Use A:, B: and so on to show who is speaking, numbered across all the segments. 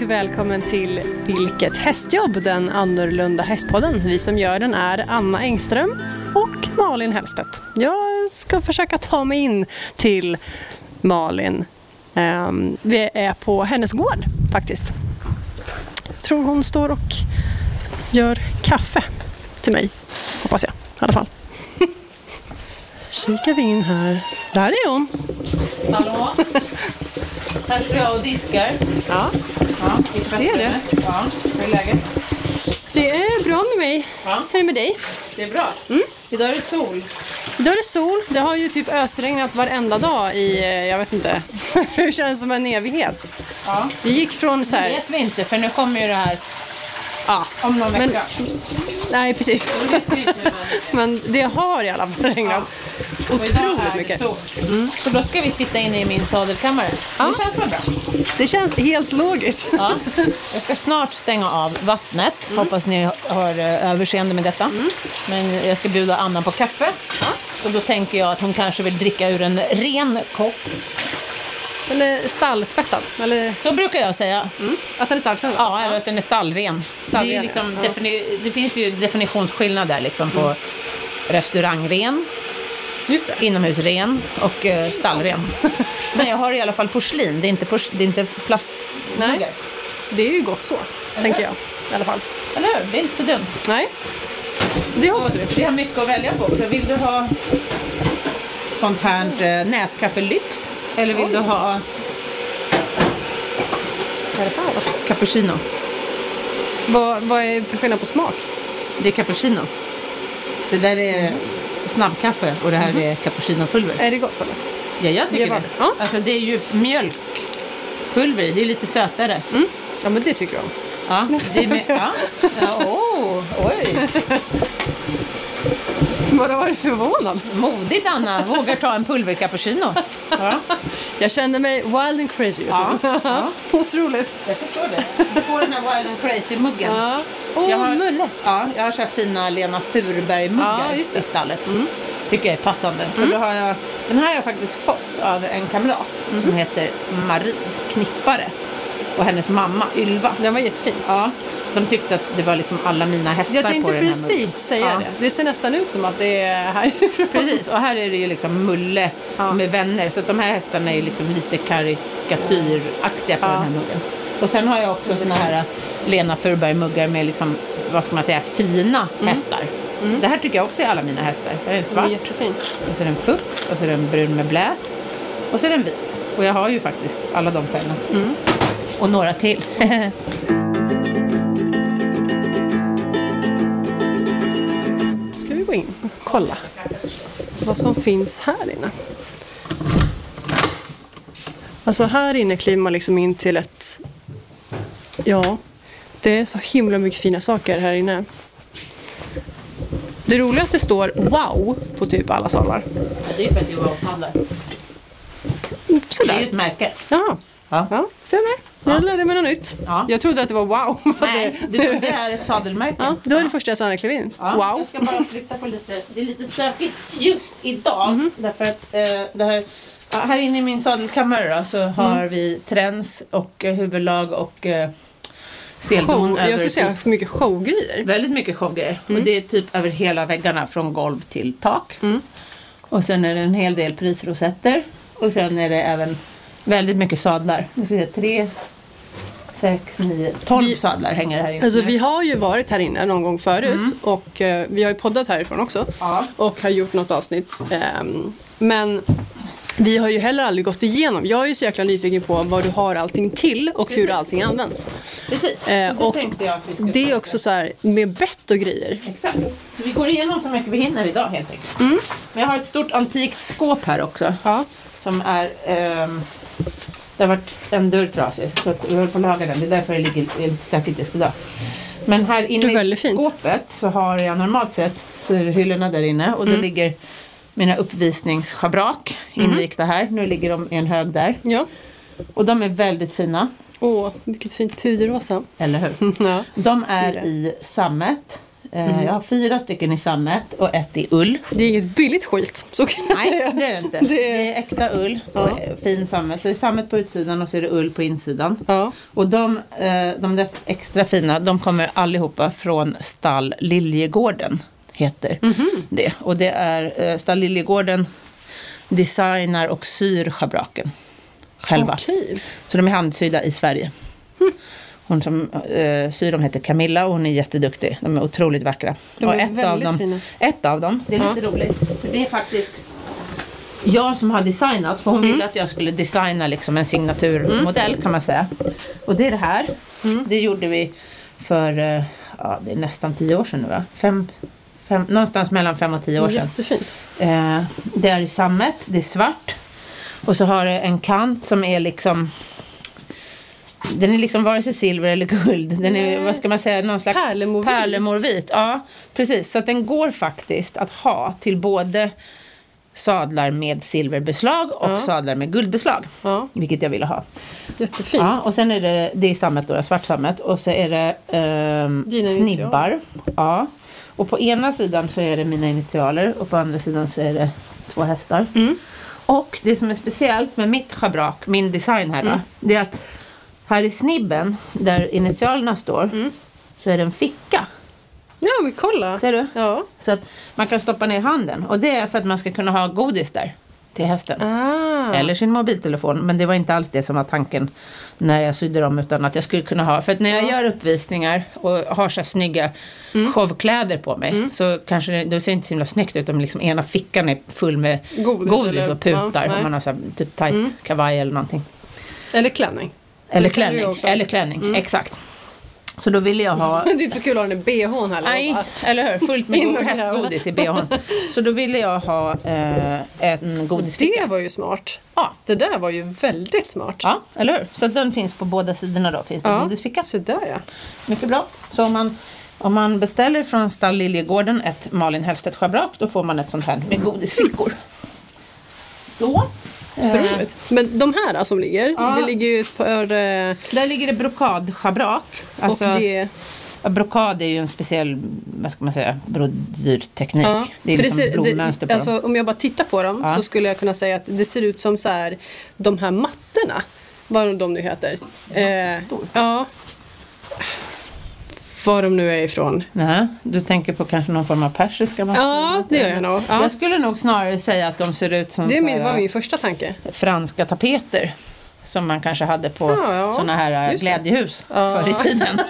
A: välkommen till Vilket hästjobb, den annorlunda hästpodden. Vi som gör den är Anna Engström och Malin Hellstedt. Jag ska försöka ta mig in till Malin. Ehm, vi är på hennes gård faktiskt. Jag tror hon står och gör kaffe till mig, hoppas jag i alla fall. Kikar vi in här. Där är hon.
B: Hallå? Här står jag och diskar.
A: Ja.
B: Ja,
A: ser det.
B: Ja, hur är läget?
A: Det är bra med mig.
B: Ja.
A: Hur är det med dig?
B: Det är bra.
A: Mm.
B: Idag är det sol.
A: Idag är det sol. Det har ju typ ösregnat varenda dag i, eh, jag vet inte, hur känns som en evighet.
B: Ja.
A: Vi gick från så
B: Det
A: här,
B: vet vi inte för nu kommer ju det här
A: ja,
B: om någon
A: Men-
B: vecka.
A: nej precis. Men det har i alla fall regnat
B: och idag
A: otroligt
B: är
A: mycket. Mm.
B: det sol. Så då ska vi sitta inne i min sadelkammare.
A: Ja.
B: Det känns väl bra.
A: Det känns helt logiskt.
B: Ja. Jag ska snart stänga av vattnet.
A: Mm.
B: Hoppas ni har eh, överseende med detta. Men jag ska bjuda Anna på kaffe. Och då tänker jag att hon kanske vill dricka ur en ren kopp.
A: Eller stalltvättad. Eller
B: Så brukar jag säga.
A: att den är stalltvättad.
B: Ja, eller att den är stallren.
A: Stallren,
B: det, är ju liksom
A: ja.
B: defini- det finns ju definitionsskillnad där liksom på restaurangren,
A: Just det.
B: inomhusren och eh, stallren. Men jag har i alla fall porslin, det är inte, pors- det är inte plast.
A: Nej, det är ju gott så, tänker jag i alla fall.
B: Eller hur? Det är inte så dumt.
A: Nej, det hoppas vi.
B: Vi har mycket att välja på också. Vill du ha sånt här eh, näskaffe lyx? Eller vill du ha cappuccino?
A: Vad, vad är för skillnad på smak?
B: Det är cappuccino. Det där är snabbkaffe och det här är cappuccinopulver.
A: Är det gott eller?
B: Ja, jag tycker
A: Det var
B: det.
A: det. Ja.
B: Alltså det är ju mjölkpulver i, det är lite sötare.
A: Mm. Ja, men det tycker jag om.
B: Ja, det är med, ja. ja oh, oj.
A: Vad var du förvånad?
B: Modigt Anna, vågar ta en pulvercappuccino. Ja,
A: Jag känner mig wild and crazy just
B: Ja,
A: nu.
B: ja.
A: Otroligt.
B: jag förstår det. Du får den här Wild and Crazy-muggen.
A: Ja. Åh,
B: Jag har-
A: Mulle.
B: Ja, jag har så här fina Lena Furberg-muggar
A: Ja, just det.
B: i stallet. Tycker jag är passande. Så då har jag, den här har jag faktiskt fått av en kamrat som heter Marie Knippare. Och hennes mamma Ylva.
A: Den var jättefin.
B: Ja, de tyckte att det var liksom alla mina hästar
A: Jag
B: på
A: tänkte
B: den här muggen.
A: precis säga
B: Ja.
A: det. Det ser nästan ut som att det är härifrån.
B: Precis, och här är det ju liksom Mulle
A: Ja.
B: med vänner. Så att de här hästarna är ju liksom lite karikatyraktiga på
A: Ja.
B: den här muggen. Och sen har jag också såna här äh, Lena Furberg-muggar med liksom, vad ska man säga, fina hästar. Det här tycker jag också är alla mina hästar. Här Mm. är en
A: Den var
B: svart,
A: jättefin.
B: och så är den fux, och så är den brun med bläs, och så är den vit. Och jag har ju faktiskt alla de färgerna. Och några till.
A: Ska vi gå in och kolla vad som finns här inne. Alltså här inne kliver man liksom in till ett... Ja, det är så himla mycket fina saker här inne. Det roliga är att det står wow på typ alla salar.
B: det är för att jag var och handlade. Det är ju
A: Sådär.
B: ett märke.
A: Jaha.
B: Ja.
A: Ja, se där. Jag lärde mig något nytt.
B: Ja.
A: Jag trodde att det var wow.
B: Nej, det, det är ett sadelmärke.
A: ja, det var det första jag sa när jag klev in.
B: Ja,
A: wow.
B: Jag ska bara flytta på lite. Det är lite stökigt just idag.
A: Mhm.
B: Därför att eh, det här, ja, här inne i min sadelkammare då, så
A: Mm.
B: har vi träns och eh, huvudlag och eh, seldon
A: Show. Jag
B: över. typ-
A: skulle säga för mycket showgrejer.
B: Väldigt mycket showgrejer.
A: Mm.
B: Och det är typ över hela väggarna från golv till tak. Och sen är det en hel del prisrosetter. Och sen är det även väldigt mycket sadlar. Nu ska vi se, tre, sex, nio, tolv
A: Vi-
B: sadlar hänger här inne.
A: Alltså vi har ju varit här inne någon gång förut och eh, vi har ju poddat härifrån också.
B: Mm. Ja.
A: Och har gjort något avsnitt. Ehm, men vi har ju heller aldrig gått igenom. Jag är ju så jäkla nyfiken på vad du har allting till och hur
B: Precis.
A: allting används.
B: Precis,
A: Eh,
B: och det
A: och
B: tänkte jag att vi skulle
A: Det är också så här med bett och grejer.
B: Exakt. Så vi går igenom så mycket vi hinner idag helt enkelt.
A: Mm.
B: Men jag har ett stort antikt skåp här också.
A: Ja.
B: Som är... ehm, det har varit en dörr trasig så att vi höll på att laga den. Det är därför det ligger lite stökigt just idag. Men här
A: Det är
B: inne i
A: väldigt fint.
B: skåpet så har jag normalt sett så är det hyllorna där inne och
A: Mm.
B: då ligger mina uppvisningsschabrak invigda här. Nu ligger de i en hög där.
A: Ja.
B: Och de är väldigt fina,
A: Åh, vilket fint puderrosa.
B: eller hur?
A: Ja.
B: De
A: Det
B: är
A: är det.
B: i sammet. eh, Eh, Jag har fyra stycken i sammet och ett i ull.
A: Det är inget billigt skit. Så kan jag
B: Nej,
A: säga.
B: det är det inte.
A: Det är-
B: Det är äkta ull och
A: Ja.
B: eh, fin sammet. Så det är sammet på utsidan och så är det ull på insidan.
A: Ja.
B: Och de, eh, de där extra fina, de kommer allihopa från stall Liljegården. Heter det. Och det är eh, stall Liljegården designar och syr schabraken. Själva.
A: Okej.
B: Så de är handsydda i Sverige. Hon som eh, syr dem heter Camilla och hon är jätteduktig. De är otroligt vackra.
A: De
B: och
A: är
B: ett av,
A: väldigt
B: dem,
A: fina.
B: ett av dem, det är
A: Ja.
B: lite roligt, för det är faktiskt Mm. jag som har designat, för hon ville att jag skulle designa liksom en signaturmodell kan man säga. Och det är det här. Det gjorde vi för, eh, ja det är nästan tio år sedan nu va? Fem, fem, någonstans mellan fem och tio år sedan.
A: Jättefint.
B: Eh, det är i sammet, det är svart. Och så har det en kant som är liksom den är liksom vare sig silver eller guld. Den är,
A: Nej.
B: vad ska man säga, någon slags
A: Pärlemorvit.
B: pärlemorvit. Ja, precis. Så att den går faktiskt att ha till både sadlar med silverbeslag och
A: Ja.
B: sadlar med guldbeslag.
A: Ja,
B: Vilket jag ville ha.
A: jättefint.
B: Ja, och sen är det, det är sammet då, svart sammet. Och så är det ehm,
A: Dina initialer.
B: snibbar. Ja. Och på ena sidan så är det mina initialer och på andra sidan så är det två hästar.
A: Mm.
B: Och det som är speciellt med mitt schabrak, min design här då,
A: Mm.
B: det är att här i snibben där initialerna står
A: Mm.
B: så är det en ficka.
A: Ja, men kolla.
B: Ser du?
A: Ja.
B: Så att man kan stoppa ner handen och det är för att man ska kunna ha godis där till hästen.
A: Ah.
B: Eller sin mobiltelefon. Men det var inte alls det som var tanken när jag sydde dem. Utan att jag skulle kunna ha. För att när jag gör uppvisningar och har så här snygga
A: Mm.
B: showkläder på mig. Så kanske det, det ser inte så himla snyggt ut om liksom ena fickan är full med
A: Godis
B: godis,
A: eller-
B: och putar.
A: ja, nej.
B: om man har så här, typ tight kavaj eller någonting.
A: Eller klänning.
B: Eller
A: Det kan du ju
B: klänning.
A: också. Mm.
B: Eller klänning, exakt. Så då ville jag ha
A: Det är inte så kul att ha den i bhn heller.
B: Nej, eller hur? Fullt med
A: In
B: god-
A: och gräva.
B: hästgodis i bhn. Så då ville jag ha eh, en godisficka.
A: Det var ju smart.
B: Ja,
A: Det där var ju väldigt smart.
B: Ja, eller hur? Så att den finns på båda sidorna då, finns det
A: Ja.
B: godisficka.
A: Så där ja.
B: Mycket bra. Så om man, om man beställer från Stall Liljegården ett Malin Hellstedt schabrak, då får man ett sånt här med godisfickor. Så. Eh,
A: Otroligt. Men de här som ligger,
B: Ja.
A: det ligger ju ett par... eh,
B: där ligger det brokadschabrak. Alltså,
A: och det,
B: ja, Brokad är ju en speciell, vad ska man säga, brodyrteknik.
A: ja.
B: Det är
A: För
B: liksom
A: ser-
B: blodmönster på dem.
A: alltså, Om jag bara tittar på dem
B: Ja.
A: så skulle jag kunna säga att det ser ut som så här, de här mattorna. Vad de nu heter. Eh,
B: Mattor.
A: ja. Var de nu är ifrån.
B: Nej, du tänker på kanske någon form av persiska mattor?
A: Ja, det gör jag nog. Ja.
B: Jag skulle nog snarare säga att de ser ut som
A: Det är
B: så
A: min,
B: här-
A: var min första tanke.
B: franska tapeter. Som man kanske hade på
A: Ja, ja.
B: sådana här eh,
A: Just det.
B: glädjehus
A: Ja.
B: förr i tiden.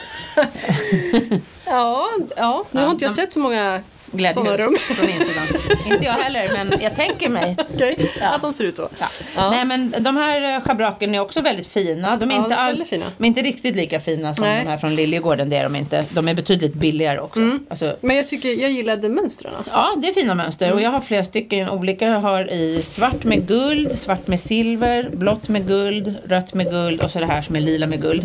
A: Ja, ja. nu
B: Ja,
A: har inte jag
B: de-
A: sett så många Såna rum.
B: Glädjehus från insidan. Inte jag heller, men jag tänker mig.
A: Okej,
B: Ja.
A: att de ser ut så.
B: Ja.
A: Ja.
B: Nej men de här eh, schabraken är också väldigt fina. De är,
A: Ja, de
B: inte,
A: är
B: alls,
A: väldigt fina.
B: De är inte riktigt lika fina som
A: Nej.
B: de här från Liljegården. Det är de inte. De är betydligt billigare också.
A: Mm.
B: Alltså,
A: Men jag tycker, jag gillade mönstren.
B: Ja, det är fina mönster och jag har flera stycken olika. Jag har i svart med guld, svart med silver, blått med guld, rött med guld och så det här som är lila med guld.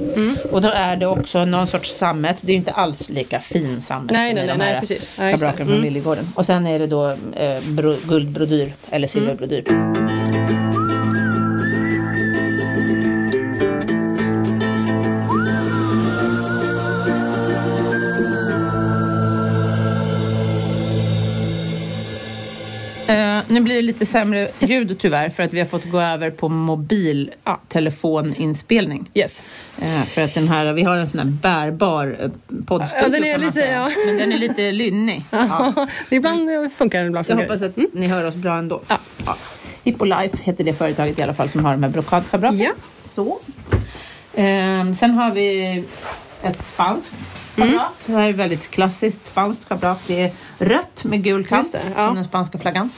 B: Och då är det också någon sorts sammet. Det är ju inte alls lika fin sammet
A: Nej,
B: som
A: nej, nej,
B: i de
A: nej,
B: här
A: precis. Ja, just det.
B: kabraken från Liljegården. Och sen är det då eh, bro, guldbrodyr eller silverbrodyr. Eh, nu blir det lite sämre ljud tyvärr för att vi har fått gå över på mobiltelefoninspelning.
A: Yes.
B: Eh, för att den här, vi har en sån här bärbar eh, poddstudio
A: Ja, den är
B: kan man
A: lite-
B: säga.
A: ja.
B: Men den är lite lynnig. Ja.
A: ibland funkar den, ibland
B: Jag
A: funkar den.
B: hoppas att ni hör oss bra ändå. Ja. Hippolife heter det företaget i alla fall som har de här brokadschabraken.
A: Ja.
B: Så. Ehm, sen har vi ett spanskt
A: Mm.
B: schabrak. Det här är ett väldigt klassiskt spanskt schabrak. Det är rött med gul
A: Just
B: kant,
A: det, ja. Mm.
B: som den spanska flaggan.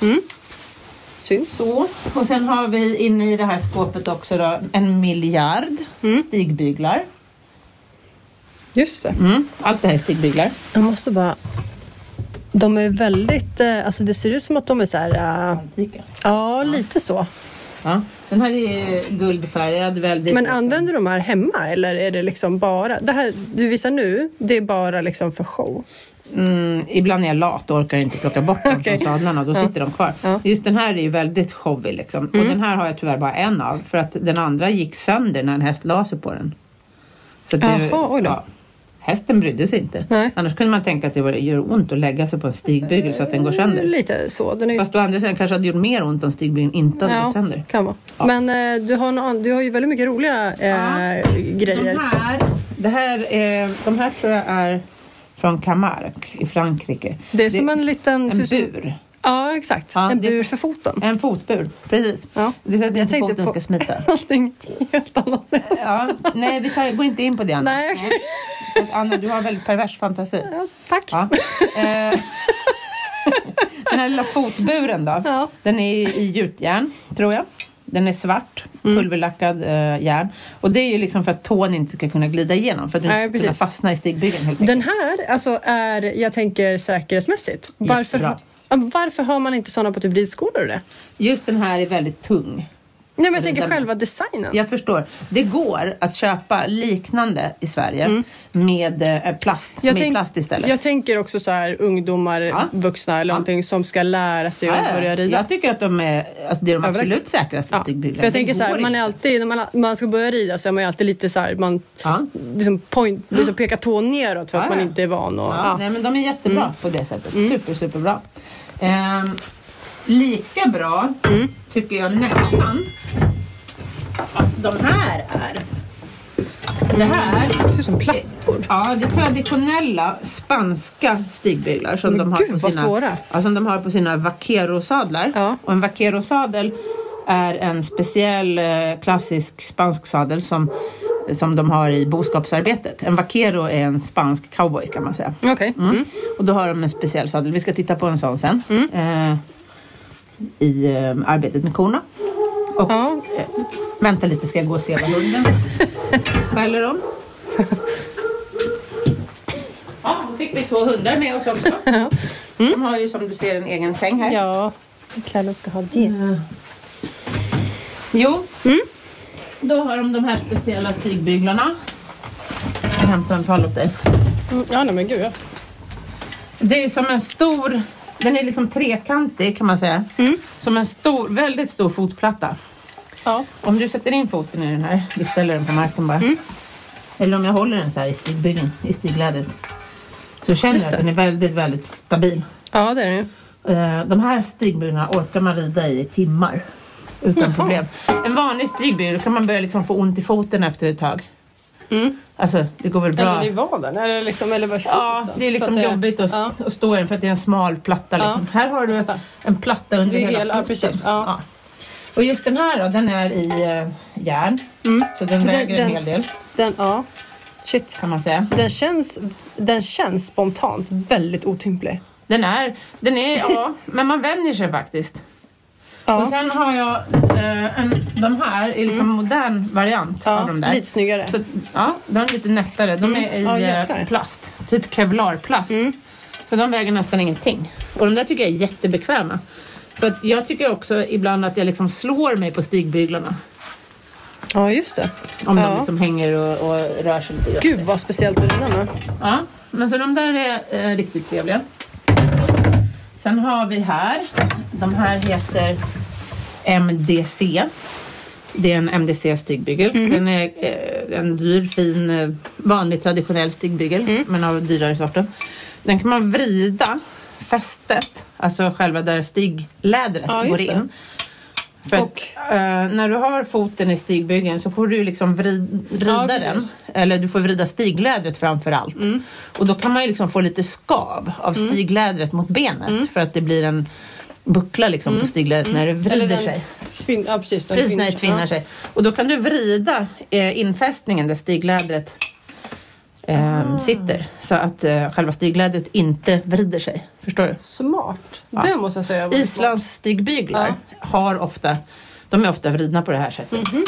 A: Syns.
B: Så. Och sen har vi inne i det här skåpet också då, en miljard
A: Mm.
B: stigbyglar.
A: Just det.
B: Mm. Allt det här är stigbyglar.
A: Jag måste bara... De är väldigt, eh, alltså det ser ut som att de är så här, eh,
B: Antika.
A: ja lite så.
B: Ja. Den här är guldfärgad. Väldigt
A: Men använder du de här hemma eller är det liksom bara, det här du visar nu, det är bara liksom för show?
B: Mm, ibland är jag lat och orkar inte plocka bort dem
A: Okej.
B: från sadlarna. Då sitter de kvar.
A: Ja. Mm.
B: Just den här är ju väldigt showig liksom. Och den här har jag tyvärr bara en av. För att den andra gick sönder när en häst la sig på den. Så att det,
A: Jaha, oj då.
B: ja. Hästen brydde sig inte.
A: Nej.
B: Annars kunde man tänka att det var- gör ont att lägga sig på en stigbygel så att den går sönder.
A: Mm, Lite så. Den är ju
B: Fast å andra sidan kanske hade gjort mer ont om stigbygeln inte hade gått sönder.
A: kan vara. Men eh, du, har en, an- du har ju väldigt mycket roliga eh,
B: Ja.
A: grejer.
B: De här, det här, eh, de här tror jag är från Camargue i Frankrike.
A: Det är som en liten...
B: en
A: ser ut som-
B: bur.
A: Ja, exakt.
B: Ja,
A: en
B: det är
A: bur för foten.
B: En fotbur, precis.
A: Ja.
B: Det är så att
A: Jag
B: inte
A: tänkte
B: foten
A: på-
B: ska smita.
A: Någonting helt annat.
B: Ja, nej, vi tar, går inte in på det Anna.
A: Nej, okej.
B: För att Anna, du har väldigt pervers fantasi.
A: Ja, Tack.
B: Ja. Eh, Den här lilla fotburen då.
A: Ja.
B: Den är i- i gjutjärn, tror jag. Den är svart,
A: Mm.
B: pulverlackad eh, järn. Och det är ju liksom för att tån inte ska kunna glida igenom. För att den
A: Nej,
B: ska kunna
A: precis.
B: fastna i stigbygeln helt enkelt.
A: Den här alltså, är, jag tänker, säkerhetsmässigt. Varför,
B: Jättebra.
A: Ja, varför har man inte sådana på typ ridskolor och det?
B: Just den här är väldigt tung.
A: Nej, men jag tänker
B: den-
A: själva designen.
B: Jag förstår. Det går att köpa liknande i Sverige med eh, plast, som är i
A: Mm. tänk-
B: plast istället.
A: jag tänker också så här ungdomar,
B: Ja.
A: vuxna eller någonting som ska lära sig att
B: Ja,
A: börja
B: ja.
A: rida.
B: jag tycker att de är, alltså det är de
A: Överlägset.
B: absolut säkraste
A: Ja,
B: stigbyglarna.
A: för jag
B: Det
A: tänker så här,
B: går
A: man är
B: inte.
A: alltid, när man, man ska börja rida så är man ju alltid lite så här, man
B: Ja.
A: liksom, point, liksom pekar tån neråt för att
B: Ja,
A: man
B: ja.
A: inte är van. Och,
B: Ja,
A: ja. Mm.
B: Nej, men de är jättebra på det sättet. Super, superbra. Ehm, lika bra
A: Mm.
B: tycker jag nästan att de här är. Det här
A: Det ser ut som plattor.
B: Ja, det är traditionella spanska stigbyglar som,
A: Men
B: de har,
A: gud,
B: på
A: vad
B: sina,
A: svåra.
B: ja, som de har på sina vaquerosadlar.
A: Ja.
B: Och en vaquerosadel är en speciell eh, klassisk spansk sadel som, som de har i boskapsarbetet. En vaquero är en spansk cowboy kan man säga.
A: Okej. Mm.
B: Och då har de en speciell sadel. Vi ska titta på en sån sen. Eh, I eh, arbetet med korna. Och,
A: Ja.
B: eh, vänta lite, ska jag gå och se vad hunden skäller om? Ja, då fick vi två hundar med oss också. De har ju som du ser en egen säng här. Eh.
A: Ja, Kalle ska ha det.
B: Jo.
A: Mm.
B: Då har de de här speciella stigbyglarna. Jag kan hämta en pall åt dig.
A: Mm. Ja, nej men gud ja.
B: Det är som en stor, den är liksom trekantig kan man säga.
A: Mm.
B: Som en stor, väldigt stor fotplatta.
A: ja.
B: Om du sätter in foten i den här, vi ställer den på marken bara.
A: Mm.
B: Eller om jag håller den så här i stigbyggen, i stiglädret. Så känner
A: Just
B: jag att
A: det.
B: den är väldigt, väldigt stabil.
A: Ja, det är det ju.
B: Eh, De här stigbyggnaderna orkar man rida i timmar utan problem. En vanlig stigbyggnad då kan man börja liksom få ont i foten efter ett tag.
A: Mm.
B: Alltså, det går väl bra.
A: Eller i vaden, eller liksom, eller bara i
B: Ja,
A: foten.
B: det är liksom
A: Så att det-
B: jobbigt att,
A: Ja.
B: att stå i den för att det är en smal platta.
A: Ja.
B: Liksom. Här har du en platta under
A: Det är
B: hela,
A: hela- ja,
B: foten.
A: precis. Ja.
B: Och just den här då, den är i eh, järn. Så den
A: Den-
B: väger
A: den-
B: en hel del
A: Den, ja. Shit.
B: kan man säga.
A: Den känns, den känns spontant väldigt otymplig.
B: Den är, den är ja, men man vänjer sig faktiskt. Och
A: Ja, Mm.
B: sen har jag eh, en, de här är liksom modern variant av
A: ja
B: de där.
A: lite snyggare.
B: Så, att, ja, de är lite nättare. De är i
A: Mm. Ja,
B: eh,
A: jäklar. Mm.
B: plast, typ kevlarplast. Så de väger nästan ingenting. Och de där tycker jag är jättebekväma. För att jag tycker också ibland att jag liksom slår mig på stigbyglarna.
A: Ja, just det.
B: Om de
A: Ja.
B: liksom hänger och, och rör sig lite grann.
A: Gud vad speciellt att rida med.
B: Ja, men så de där är eh, riktigt trevliga. Sen har vi här, de här heter MDC. Det är en MDC stigbygel.
A: Mhm.
B: Den är eh, en dyr, fin, eh, vanlig traditionell stigbygel,
A: Mm.
B: men av dyrare sorten. Den kan man vrida fästet, alltså själva där stiglädret
A: Ja, just
B: går
A: det.
B: in. För
A: Och-
B: att, eh, när du har foten i stigbyggen så får du liksom vrid, vrida
A: Ja,
B: den.
A: precis.
B: Eller du får vrida stiglädret framför allt.
A: Mm.
B: Och då kan man ju liksom få lite skav av stiglädret mot benet
A: Mm.
B: för att det blir en buckla liksom på stiglädret när det vrider sig.
A: Tvin, ja, precis. Mm. Den
B: Precis när det tvinnar
A: ja.
B: sig. Och då kan du vrida eh, infästningen där stiglädret
A: Ah.
B: ehm, sitter. Så att eh, själva stiglädret inte vrider sig. Förstår du?
A: Smart. Det måste jag säga. var smart.
B: Islands stigbyglar har ofta, de är ofta vridna på det här sättet.
A: Mhm.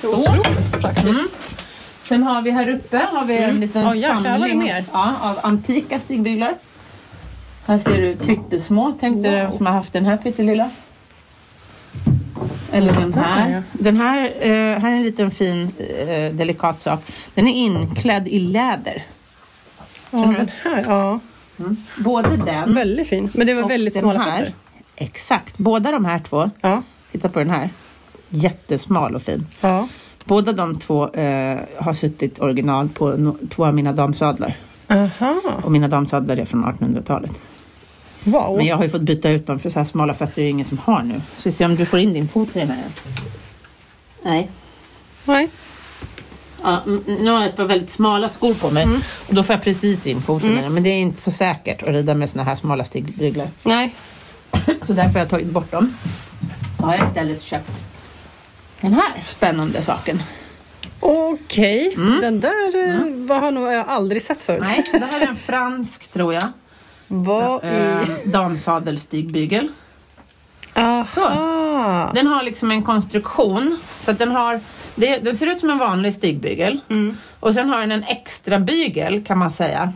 A: Det är Otroligt praktiskt.
B: Mm. Sen har vi här uppe har vi en liten
A: Mm. Ja, jäklar, vad det är
B: samling
A: mer.
B: ja, av antika stigbyglar. Här ser du pyttesmå. Tänk dig
A: Wow.
B: den som har haft den här pyttelilla. Eller den
A: Ja.
B: här. Den här, eh, här är en liten fin eh, delikat sak. Den är inklädd i läder.
A: Ja, den här. Ja,
B: Både den
A: väldigt fin. Men det var
B: Mm. och
A: väldigt
B: den
A: smala
B: här.
A: fötter.
B: Exakt. Båda de här två.
A: Ja.
B: Titta på den här. Jättesmal och fin.
A: Ja.
B: Båda de två eh, har suttit original på no- två av mina damsadlar.
A: Aha.
B: Och mina damsadlar är från 1800-talet.
A: Wow.
B: Men jag har ju fått byta ut dem för så här smala fötter är det ingen som har nu. Så vi ser om du får in din fot i den här. Nej.
A: Nej.
B: Ja, mm, nu har jag ett par väldigt smala skor på mig. Och då får jag precis in foten i den. Men det är inte så säkert att rida med såna här smala stigbyglar.
A: Nej.
B: Så därför har jag tagit bort dem. Så har jag istället köpt den här spännande saken.
A: Okej, den där eh, vad har nog jag aldrig sett förut.
B: Mm. Nej, det här är en fransk tror jag.
A: Vad i...
B: Eh, damsadelsstigbygel.
A: Aha.
B: Den har liksom en konstruktion. Så att den, har, det, den ser ut som en vanlig stigbygel. Och sen har den en extra bygel kan man säga.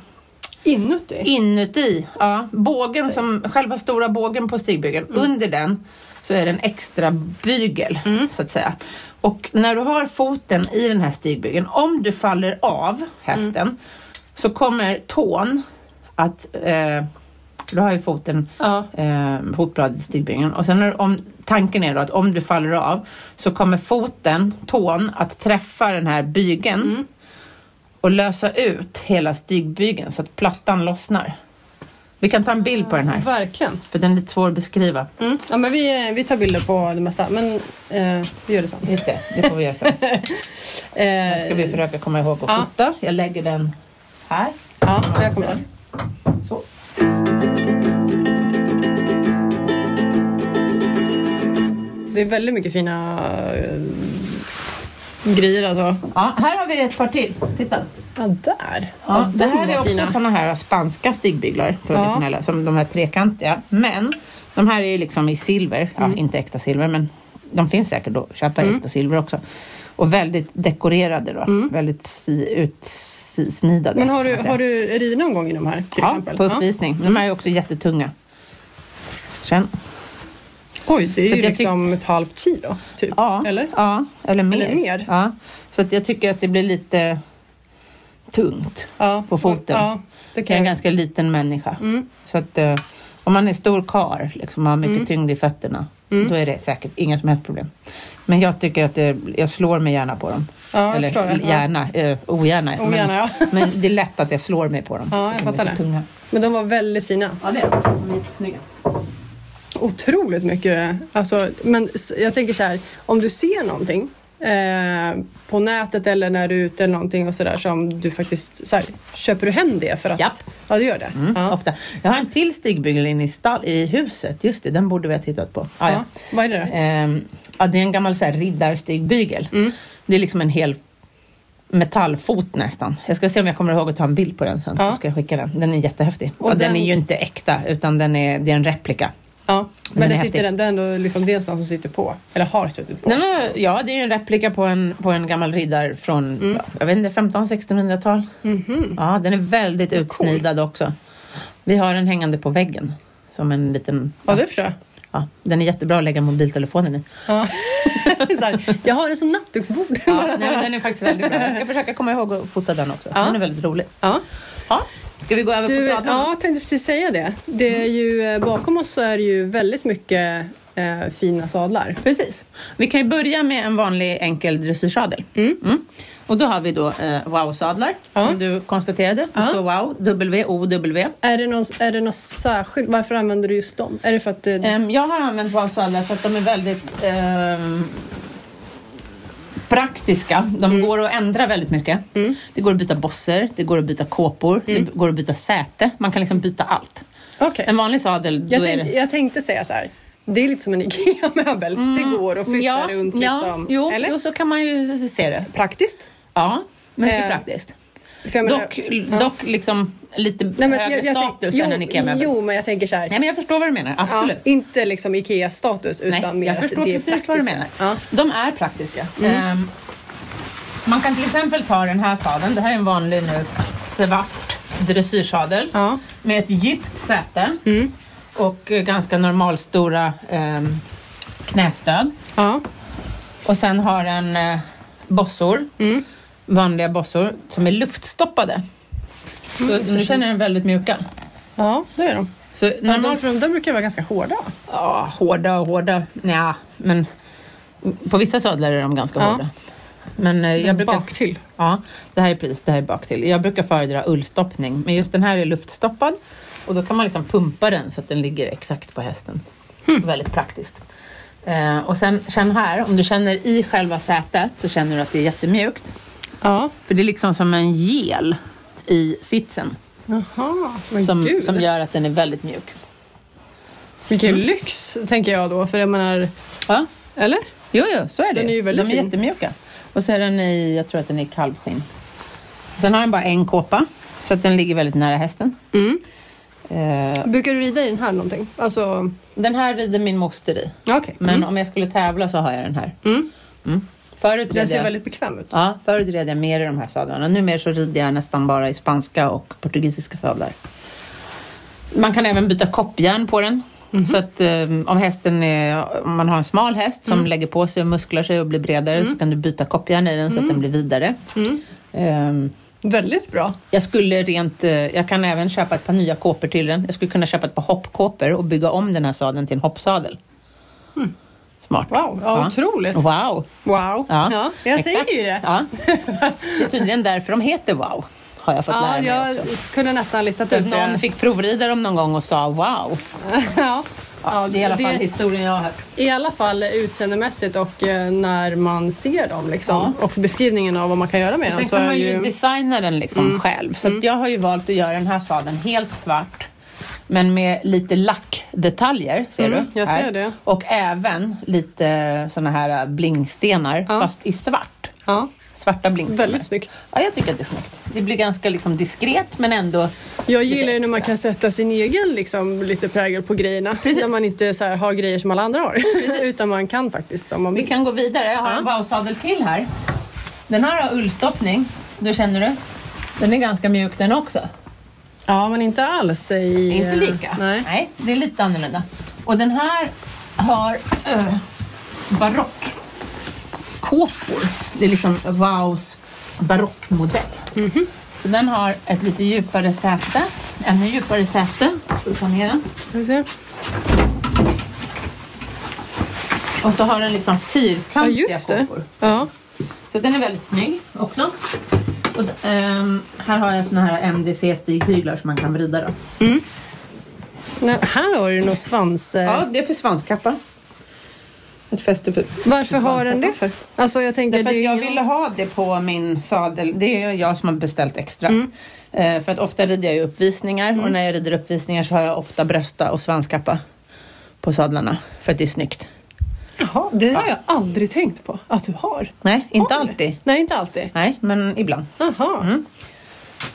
A: Inuti?
B: Inuti, ja, bågen som, själva stora bågen på stigbygeln, under den så är det en extra bygel så att säga. Och när du har foten i den här stigbygeln, om du faller av hästen så kommer tån att, eh, du har ju foten
A: Ja.
B: eh, hotbladet i stigbygeln och sen är, om, tanken är då att om du faller av så kommer foten, tån, att träffa den här bygeln
A: Mm.
B: och lösa ut hela stigbygeln så att plattan lossnar. Vi kan ta en bild på den här,
A: Verkligen.
B: för den är lite svår att beskriva.
A: Mm. Ja, men vi, eh, vi tar bilder på det mesta, men eh, vi gör det sen.
B: Just det, det får vi göra sen.
A: Eh,
B: ska vi försöka komma ihåg att
A: Ja.
B: fota. Jag lägger den här.
A: Ja, jag kommer ihåg.
B: Så.
A: Det är väldigt mycket fina eh, grejer alltså.
B: Ja, här har vi ett par till. Titta.
A: Ja, där.
B: Ja, det
A: de
B: här
A: var
B: är också
A: fina.
B: sådana här spanska stigbyglar, traditionella, som de här trekantiga. Men de här är ju liksom i silver, ja,
A: Mm.
B: inte äkta silver, men de finns säkert att köpa i äkta silver också. Och väldigt dekorerade då, väldigt si, utsnidade.
A: Mm. Men har du,
B: kan man säga.
A: har du ridit någon gång i de här till
B: ja,
A: exempel? Mm.
B: på uppvisning. De här är ju också jättetunga. Sen,
A: Oj, det
B: Så
A: är ju
B: att jag
A: liksom ett halvt kilo typ.
B: ja,
A: Eller?
B: Ja, eller mer.
A: Eller mer.
B: Ja, så att jag tycker att det blir lite tungt.
A: Ja,
B: på foten.
A: Ja, Mm. det
B: Jag är
A: kan
B: en
A: jag.
B: ganska liten människa. Så att eh, om man är stor kar liksom, och har mycket
A: Mm.
B: tyngd i fötterna, då är det säkert inga som helst problem. Men jag tycker att det, jag slår mig gärna på dem.
A: Ja, jag
B: Eller
A: förstår det. Ja.
B: gärna, eh, ogärna.
A: Ogärna,
B: men,
A: ja.
B: men det är lätt att jag slår mig på dem.
A: Ja, jag
B: De är
A: fattar
B: så
A: det.
B: Tunga.
A: Men de var väldigt fina.
B: Ja, det är de. De är jättesnygga.
A: Otroligt mycket. Alltså, men s- jag tänker så här, om du ser någonting eh, på nätet eller när du är ute eller någonting och sådär som du faktiskt, så här, köper du hem det för att?
B: Japp.
A: Ja, du gör det?
B: Mm,
A: ja.
B: Ofta. Jag har en till stigbygel in i, stall, i huset. Just det, den borde vi ha tittat på. Ah,
A: Ja. Vad är det då?
B: Ehm, ja, det är en gammal så här, riddarstigbygel.
A: Mm.
B: Det är liksom en hel metallfot nästan. Jag ska se om jag kommer ihåg att ta en bild på den sen.
A: Ja.
B: Så ska jag skicka den. Den är jättehäftig.
A: Och
B: Och, den...
A: den-
B: är ju inte äkta utan den är, det är en replika.
A: Ja,
B: Den
A: men
B: är
A: det
B: häftig.
A: sitter den, den då liksom, det är en sån som sitter på, eller har suttit på.
B: Den är, ja, det är ju en replika på en, på en gammal riddare från,
A: Mm.
B: ja, jag vet inte, 1500-1600-tal.
A: Mhm.
B: Ja, den är väldigt utsnidad också. Vi har den hängande på väggen. Som en liten...
A: Ja, det förstår jag.
B: Ja, den är jättebra att lägga mobiltelefonen i.
A: Ja. så här, jag har det som nattduksbord.
B: Ja, nej, men den är faktiskt väldigt bra. Jag ska försöka komma ihåg att fota den också.
A: Ja.
B: Den är väldigt rolig.
A: Ja.
B: Ja. Ska vi gå över på
A: Du,
B: sadeln?
A: ja, jag tänkte precis säga det. det är ju, eh, bakom oss så är det ju väldigt mycket eh, fina sadlar.
B: Precis. Vi kan ju börja med en vanlig enkel dressyrsadel. Mm. Och då har vi då eh, wow-sadlar
A: Ja.
B: som du konstaterade. Det
A: Ja.
B: står wow, W-O-W.
A: Är det, någon, är det något särskilt? Varför använder du just dem? Är det för att eh, det,
B: Ehm, jag har använt wow-sadlar för att de är väldigt ehm, praktiska. De går att ändra väldigt mycket. Det går att byta bosser, det går att byta kåpor, det går att byta säte. Man kan liksom byta allt.
A: Okej.
B: En vanlig sadel,
A: jag,
B: då är
A: tänk,
B: det... Mm,
A: jag tänkte säga så här. Det är lite som en IKEA-möbel. Det går att flytta runt liksom.
B: Jo,
A: Eller?
B: jo, så kan man ju se det.
A: Praktiskt.
B: Ja, mycket
A: Eh,
B: praktiskt.
A: För jag menar-
B: Dock, dock liksom lite högre
A: tänk-
B: status
A: jo,
B: än en IKEA-möbel.
A: Jo, men jag tänker så här.
B: Nej, men jag förstår vad du menar, absolut.
A: Ja, inte liksom IKEA-status utan
B: Nej,
A: mer
B: jag
A: att
B: förstår
A: det är
B: precis vad du
A: praktiska.
B: menar.
A: Ja.
B: De är praktiska. Ehm, man kan till exempel ta den här sadeln. Det här är en vanlig nu svart dressyrsadel
A: Ja. mm,
B: med ett djupt säte och eh, ganska normalstora ehm, knästöd.
A: Ja.
B: Och sen har den eh, bossor,
A: Mm.
B: vanliga bossor, som är luftstoppade. så nu känner jag den väldigt mjuka.
A: Mm, ja, det är de.
B: Så
A: Men
B: normalt,
A: de, de brukar vara ganska hårda.
B: ja, hårda och hårda, ja, men på vissa sadlar är de ganska
A: Ja.
B: hårda. Men eh, jag brukar...
A: Bak till.
B: Ja, det här är precis det här är bak till. Jag brukar föredra ullstoppning, men just den här är luftstoppad och då kan man liksom pumpa den så att den ligger exakt på hästen.
A: Hmm.
B: Väldigt praktiskt. Eh, och sen känn här, om du känner i själva sätet så känner du att det är jättemjukt.
A: Ja.
B: För det är liksom som en gel i sitsen
A: Jaha, men
B: som,
A: gud.
B: som Mm. gör att den är väldigt mjuk.
A: Vilken lyx, tänker jag då. För jag menar,
B: Ja,
A: eller?
B: jo, jo, så är det.
A: Den är ju väldigt
B: De är
A: fin.
B: jättemjuka. Och så är den i, jag tror att den är i kalvskinn. Sen har den bara en kåpa, så att den ligger väldigt nära hästen. Eh,
A: Brukar du rida i den här någonting? Alltså,
B: Den här rider min moster i.
A: okej.
B: Men
A: Mm.
B: om jag skulle tävla så har jag den här.
A: Mm.
B: Mm. Förut,
A: Den
B: red
A: ser
B: jag,
A: väldigt bekväm ut.
B: ja, förut red jag mer i de här sadlarna. Numera så rider jag nästan bara i spanska och portugisiska sadlar. Man kan även byta koppjärn på den.
A: Mhm.
B: Så att eh, om, hästen är, om man har en smal häst
A: Mm.
B: som lägger på sig och musklar sig och blir bredare så kan du byta koppjärn i den så att
A: Mm.
B: den blir vidare. Ehm,
A: Väldigt bra.
B: jag skulle rent, eh, jag kan även köpa ett par nya kåpor till den. Jag skulle kunna köpa ett par hoppkåpor och bygga om den här sadeln till en hoppsadel. Smart.
A: Mm. Wow, ja, otroligt.
B: Wow.
A: Wow.
B: Oh. Ja,
A: jag
B: exakt.
A: säger ju det.
B: Ja. Det är tydligen därför de heter wow, har jag fått
A: Ja,
B: lära mig
A: jag
B: också.
A: kunde nästan listat
B: Typ
A: ut det.
B: någon fick provrida dem någon gång och sa wow.
A: ja. Ja,
B: det är i alla fall historien jag har hört.
A: I alla fall utseendemässigt och eh, när man ser dem liksom. Och beskrivningen av vad man kan göra med dem.
B: Sen
A: Så
B: kan
A: är
B: man ju
A: ju...
B: designa den liksom själv. Så att jag har ju valt att göra den här sadeln helt svart. Men med lite lackdetaljer, ser
A: Mm,
B: du?
A: jag
B: här.
A: ser det.
B: Och även lite såna här äh, blingstenar,
A: Ja.
B: fast i svart.
A: Ja,
B: Svarta blingstenar.
A: väldigt snyggt.
B: Ja, jag tycker att det är snyggt. Det blir ganska liksom diskret, men ändå...
A: Jag
B: lite
A: gillar ju när man
B: extra.
A: kan sätta sin egen liksom, lite prägel på grejerna.
B: Precis.
A: När man inte så här, har grejer som alla andra har. Utan man kan faktiskt om man
B: Vi
A: vill.
B: kan gå vidare. Jag har en wow-sadel till här. Den här har ullstoppning. Du känner du? Den är ganska mjuk den också.
A: Ja, men inte alls i... eh,
B: Inte lika.
A: Nej.
B: det är lite annorlunda. Och den här har äh, barockkåpor. Det är liksom Wows barockmodell.
A: Mhm.
B: Så den har ett lite djupare säte. Ännu djupare säte. Ska vi ta ner den?
A: Ska vi se?
B: Och så har den liksom
A: Ja,
B: fyrkantiga
A: just det.
B: kåpor.
A: Ja.
B: Så den är väldigt snygg också. Och, d- ehm, här har jag såna här MDC-stighyglar som man kan vrida då.
A: Nej, här har du nog svans... eh,
B: Ja, det är för svanskappa. Ett fäste för...
A: Varför har den det för? Alltså jag tänker...
B: Därför
A: det
B: att
A: är
B: jag
A: ju-
B: ville ha det på min sadel. Det är ju jag som har beställt extra. Eh, för att ofta rider jag ju uppvisningar och när jag rider uppvisningar så har jag ofta brösta och svanskappa på sadlarna. För att det är snyggt.
A: Jaha, det har jag aldrig tänkt på att du har.
B: Nej, inte
A: Har du?
B: alltid.
A: Nej, inte alltid.
B: Nej, men ibland.
A: Jaha.
B: Mm.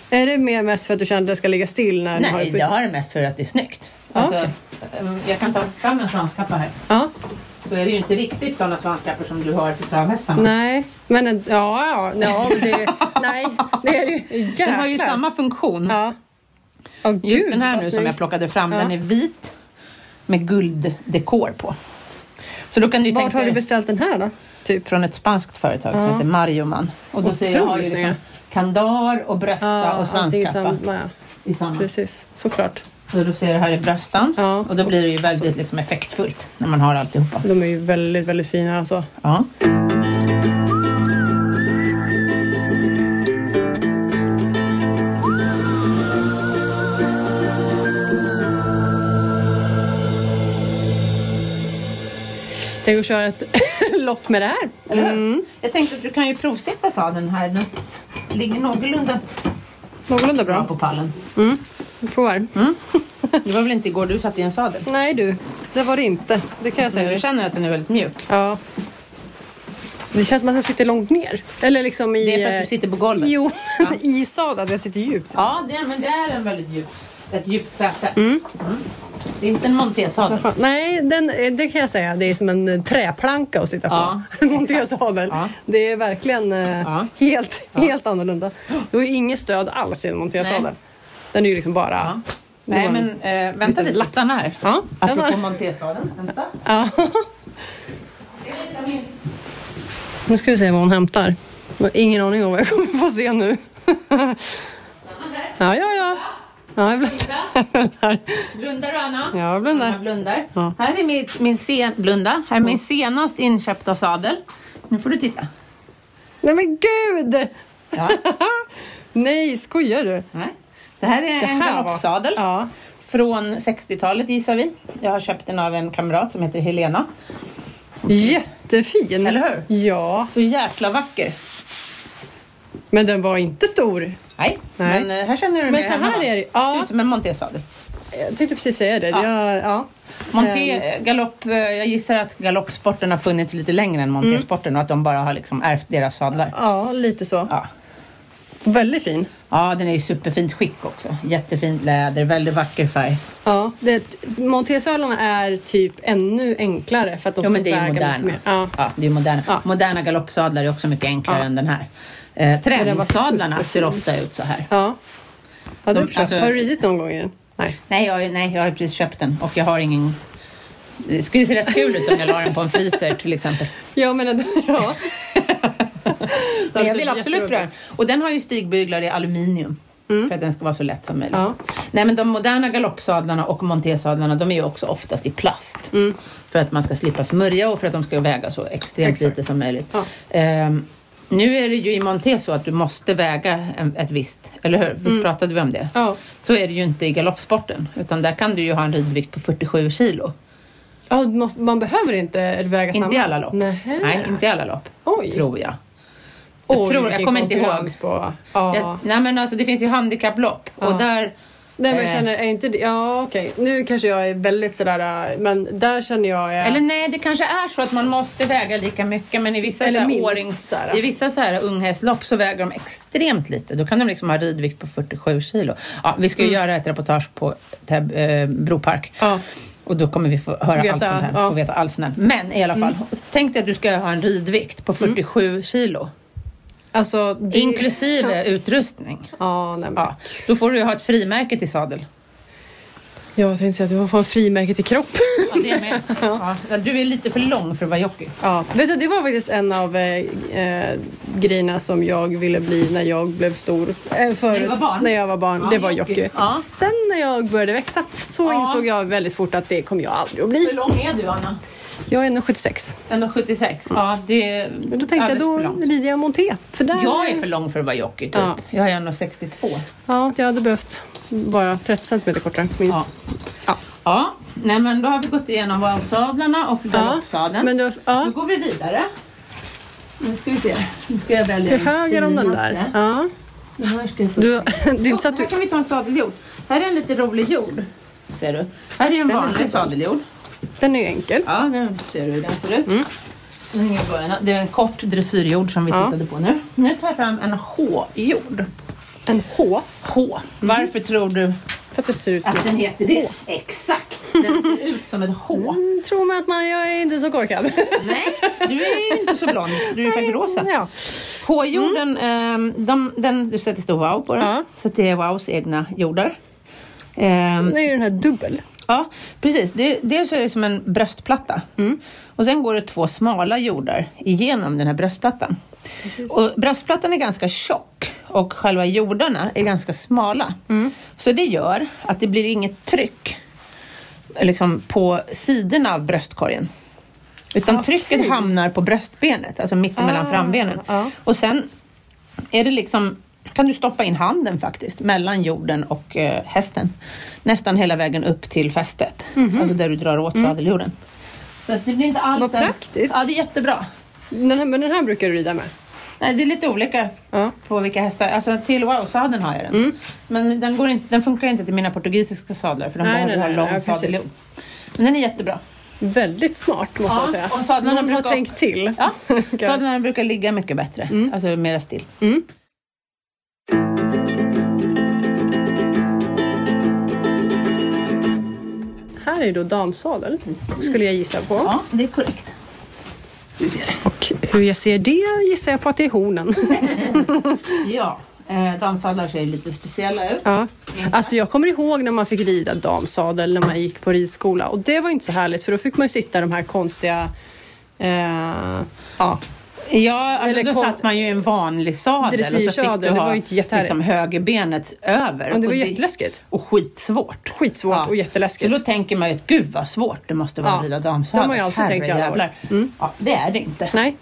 A: Är det mer mest för att du känner att jag ska ligga still när du har...
B: Nej, det har det mest för att det är snyggt.
A: Ja,
B: Alltså,
A: okej.
B: ehm, Jag kan ta fram en svanskappa här.
A: Ja.
B: så är det ju inte riktigt sådana svanskappar som du har på travhästarna.
A: Nej, men en- ja, ja, ja men det, nej, det är det ju. Jäklar.
B: Den har ju samma funktion.
A: Ja. Åh,
B: Just
A: gud,
B: den här
A: vad
B: nu som
A: snygg.
B: jag plockade fram,
A: Ja.
B: den är vit med gulddekor på. Så då kan du ju
A: Vart
B: tänka
A: har du
B: dig
A: beställt den här då? Typ.
B: från ett spanskt företag som heter Marioman. Och då ser jag har ju
A: Otroligt
B: liksom kandar och brösta Ah, och
A: allting
B: svanskappa
A: samma, ja.
B: i samma.
A: Precis, såklart.
B: Så du ser det här i bröstan
A: Ja.
B: och då blir det ju väldigt liksom, effektfullt när man har alltihopa.
A: De är ju väldigt, väldigt fina alltså.
B: Ja.
A: Tänk att köra ett lopp med det här.
B: Eller hur?
A: Mm.
B: Jag tänkte att du kan ju provsitta sadeln här. Den ligger någorlunda
A: Någorlunda bra.
B: bra på pallen.
A: Vi provar.
B: Mm. Det var väl inte igår du satt i en sadel?
A: Nej du, det var det inte. Det kan jag säga
B: Jag
A: dig.
B: känner att den är väldigt mjuk.
A: Ja. Det känns som att jag sitter långt ner. Eller liksom i...
B: Det är för att
A: eh,
B: du sitter på golvet.
A: Jo,
B: Ja.
A: i sadeln. Jag sitter djupt.
B: Ja, det är, men det är en väldigt djup, ett djupt säte. Mm. Det är inte en montésadel.
A: Skönt. Nej, den, eh, det kan jag säga. Det är som en eh, träplanka att sitta
B: Ja,
A: på. Montésadel.
B: Ja.
A: Det är verkligen eh,
B: Ja.
A: helt, helt annorlunda. Det är inget stöd alls i en montésadel.
B: Nej.
A: Den är ju liksom bara...
B: Ja.
A: det
B: Nej,
A: var en-
B: men eh, vänta lite. Stanna här.
A: Ja,
B: Apropå montésadeln. Vänta.
A: ja.
B: Det är lite av min-
A: Nu ska vi se vad hon hämtar. Jag har ingen aning om vad jag kommer få se nu. Ja, ja, ja. Ja, jag blundar.
B: Blundar du, Anna?
A: Ja, jag blundar.
B: Anna blundar.
A: Ja.
B: Här är min, min, sen, blunda. Här är min senast inköpta sadel. Nu får du titta.
A: Nej men gud!
B: Ja.
A: Nej, skojar du?
B: Nej. Det här är en
A: här var-
B: galoppsadel.
A: Ja.
B: Från 60-talet gissar vi. Jag har köpt den av en kamrat som heter Helena.
A: Jättefin!
B: Eller hur?
A: Ja,
B: Så jäkla vacker.
A: men den var inte stor.
B: Nej,
A: Nej.
B: men eh, här känner du dig
A: Men
B: mer
A: så här
B: hemma, va?
A: är det- ja.
B: Ser ut som en montésadel.
A: Jag tänkte precis säga det.
B: Ja.
A: Jag, ja.
B: Monté,
A: Ehm.
B: eh, galopp, eh, jag gissar att galoppsporten har funnits lite längre än montésporten och att de bara har liksom ärvt deras sadlar.
A: ja, lite så.
B: Ja.
A: Väldigt fin.
B: ja, den är i superfint skick också. Jättefint läder, väldigt vacker färg.
A: Ja, det- Montesalarna är typ ännu enklare för att de
B: Jo,
A: ska
B: men det är
A: väga
B: ju
A: mycket
B: moderna.
A: mer. Ja.
B: Ja, det är ju moderna.
A: Ja.
B: moderna galoppsadlar är också mycket enklare
A: Ja.
B: än den här. Eh,
A: den var
B: träningssadlarna ser
A: superfin.
B: ofta ut så här.
A: Ja. Har du,
B: De- alltså-
A: har du ridit någon gång i den? Nej.
B: Nej jag, har ju- nej, jag har ju precis köpt den och jag har ingen... Det skulle se rätt kul ut om jag la den på en freezer till exempel.
A: Ja, men ja.
B: Men jag
A: Alltså,
B: vill absolut pröva den. Och den har ju stigbyglar i aluminium. För att den ska vara så lätt som möjligt.
A: Mm. Ja.
B: Nej men de moderna galoppsadlarna och montésadlarna de är ju också oftast i plast.
A: Mm.
B: För att man ska slippa smörja och för att de ska väga så extremt
A: Exakt.
B: lite som möjligt.
A: Ja.
B: Ehm, nu är det ju i monté så att du måste väga en, ett visst, eller hur? Visst pratade vi om det?
A: Mm. Ja.
B: Så är det ju inte i galoppsporten. Utan där kan du ju ha en ridvikt på 47 kilo.
A: Ja, man, man behöver inte väga samma.
B: Inte i alla lopp.
A: Nähä.
B: Nej, inte i alla lopp.
A: Oj.
B: Tror jag. Jag,
A: Oj,
B: tror, jag
A: vilken
B: kommer inte ihåg.
A: konkurrens På. Ja.
B: Jag, nej men alltså det finns ju handikapplopp och
A: Ja.
B: där...
A: Nej, men jag
B: Eh.
A: känner, är inte det, ja okej. Nu kanske jag är väldigt sådär, äh, men där känner jag... eh,
B: Eller nej, det kanske är så att man måste väga lika mycket men i vissa
A: Eller
B: så här
A: minst,
B: årings-
A: så här.
B: i vissa så här unghästlopp så väger de extremt lite. Då kan de liksom ha ridvikt på 47 kilo. Ja, vi ska ju
A: Mm.
B: göra ett reportage på Täb, eh, Bropark.
A: Ja.
B: Och då kommer vi få höra
A: Veta,
B: allt sånt här.
A: ja. Mm.
B: Få veta allt sånt här. Men i alla fall, tänk dig att du ska ha en ridvikt på 47 kilo.
A: Alltså, Mm. det,
B: Inklusive utrustning.
A: Ja, nej, men.
B: Ja, då får du ju ha ett frimärke till sadel.
A: Jag tänkte säga att du får fan frimärke till kropp.
B: Ja, det med. Ja, du är lite för lång för att vara jockey.
A: Ja, vet du, det var faktiskt en av eh, eh, grejerna som jag ville bli när jag blev stor. Eh, förut,
B: När du var barn?
A: När jag var barn.
B: Ja,
A: det var
B: jockey.
A: jockey.
B: Ja.
A: Sen när jag började växa så
B: Ja.
A: insåg jag väldigt fort att det kommer jag aldrig att bli.
B: lång är du, Anna?
A: Jag är 1,76.
B: 176. Ja, det är
A: Men Då tänkte jag
B: alldeles
A: då
B: för långt.
A: rider jag monté. För där,
B: Jag är för lång för att vara jockey, typ.
A: Ja.
B: Jag är 1,62.
A: Ja, jag hade behövt vara 30 centimeter kortare minst.
B: Ja.
A: Ja.
B: Ja, nej men då har vi gått igenom valsadlarna och galoppsadeln.
A: Men då, ja,
B: Nu går vi vidare. Nu ska vi se. Nu ska jag välja
A: till
B: den
A: höger om den
B: finaste.
A: där. Ja.
B: Den här ska jag få-
A: Du, det är
B: Jo,
A: inte så att
B: Här
A: du...
B: kan vi ta en sadeljord. Här är en lite rolig jord. Ser du? Här är en
A: Den är
B: vanlig
A: fin.
B: sadeljord.
A: Den är ju enkel.
B: Ja, nu ser du hur den ser ut. Den hänger i början. Det är en kort dressyrjord som vi
A: Ja.
B: tittade på nu. Nu tar jag fram en H-jord.
A: En H.
B: H. Varför tror du
A: För att det ser ut som...
B: Mm. att den heter det? Exakt! Den ser ut som ett H.
A: Mm, Tror man att man... Jag är inte så korkad.
B: Nej, du är inte så blond. Du är faktiskt rosa.
A: Ja.
B: H-jorden, ehm, de, den, du sätter stor wow på den.
A: Ja.
B: Så att det är wows egna jordar. Ehm,
A: Nu är ju den här dubbel.
B: Ja, precis. Det, dels så är det som en bröstplatta. Och sen går det två smala jordar igenom den här bröstplattan. Och bröstplattan är ganska tjock och själva jordarna är ganska smala. Så det gör att det blir inget tryck liksom på sidorna av bröstkorgen. Utan trycket hamnar på bröstbenet, alltså mitten mellan
A: Ah,
B: frambenen.
A: ja.
B: Och sen är det liksom, kan du stoppa in handen faktiskt mellan jorden och eh, hästen. Nästan hela vägen upp till fästet. Alltså där du drar åt sadeljorden. Så att det blir inte alls...
A: Mhm. Mm. Vad
B: en-
A: praktiskt.
B: Ja, det är jättebra.
A: Den här, men den här brukar du rida med.
B: Nej, det är lite olika
A: Ja.
B: på vilka hästar. Alltså till wow-sadeln har jag den.
A: Mm.
B: Men den, går inte, den funkar inte till mina portugisiska sadlar för de
A: Nej,
B: behöver
A: nej,
B: ha
A: nej,
B: lång
A: nej, precis.
B: sadeljord. Men den är jättebra.
A: Väldigt smart måste
B: Ja,
A: jag säga.
B: och sadlarna
A: Någon har
B: brukar-
A: tänkt till.
B: Ja.
A: Okej.
B: Sadlarna brukar ligga mycket bättre. Alltså mera still.
A: Mm. Här är då damsadel, skulle jag gissa på.
B: Ja, det är korrekt. Vi ser.
A: Och hur jag ser det gissar jag på att det är hornen.
B: Ja, eh, damsadlar ser lite speciella ut.
A: Ja. Alltså jag kommer ihåg när man fick rida damsadel när man gick på ridskola och det var ju inte så härligt för då fick man ju sitta i de här konstiga... Eh, ja.
B: Ja, alltså
A: Eller
B: då
A: kon-
B: satt man ju i en vanlig sadel och så fick
A: Dressyrsadel,
B: du
A: det
B: ha
A: var ju inte jättehärligt.
B: liksom, högerbenet över.
A: Men det var
B: och
A: jätteläskigt.
B: Och skitsvårt.
A: Skitsvårt och
B: Så
A: jätteläskigt.
B: då tänker man ju att gud vad svårt det måste vara
A: Ja.
B: att rida
A: Det har
B: damsadel.
A: man ju alltid tänkt Mm. i alla år.
B: Herrejävlar. Ja, det är det inte.
A: Nej,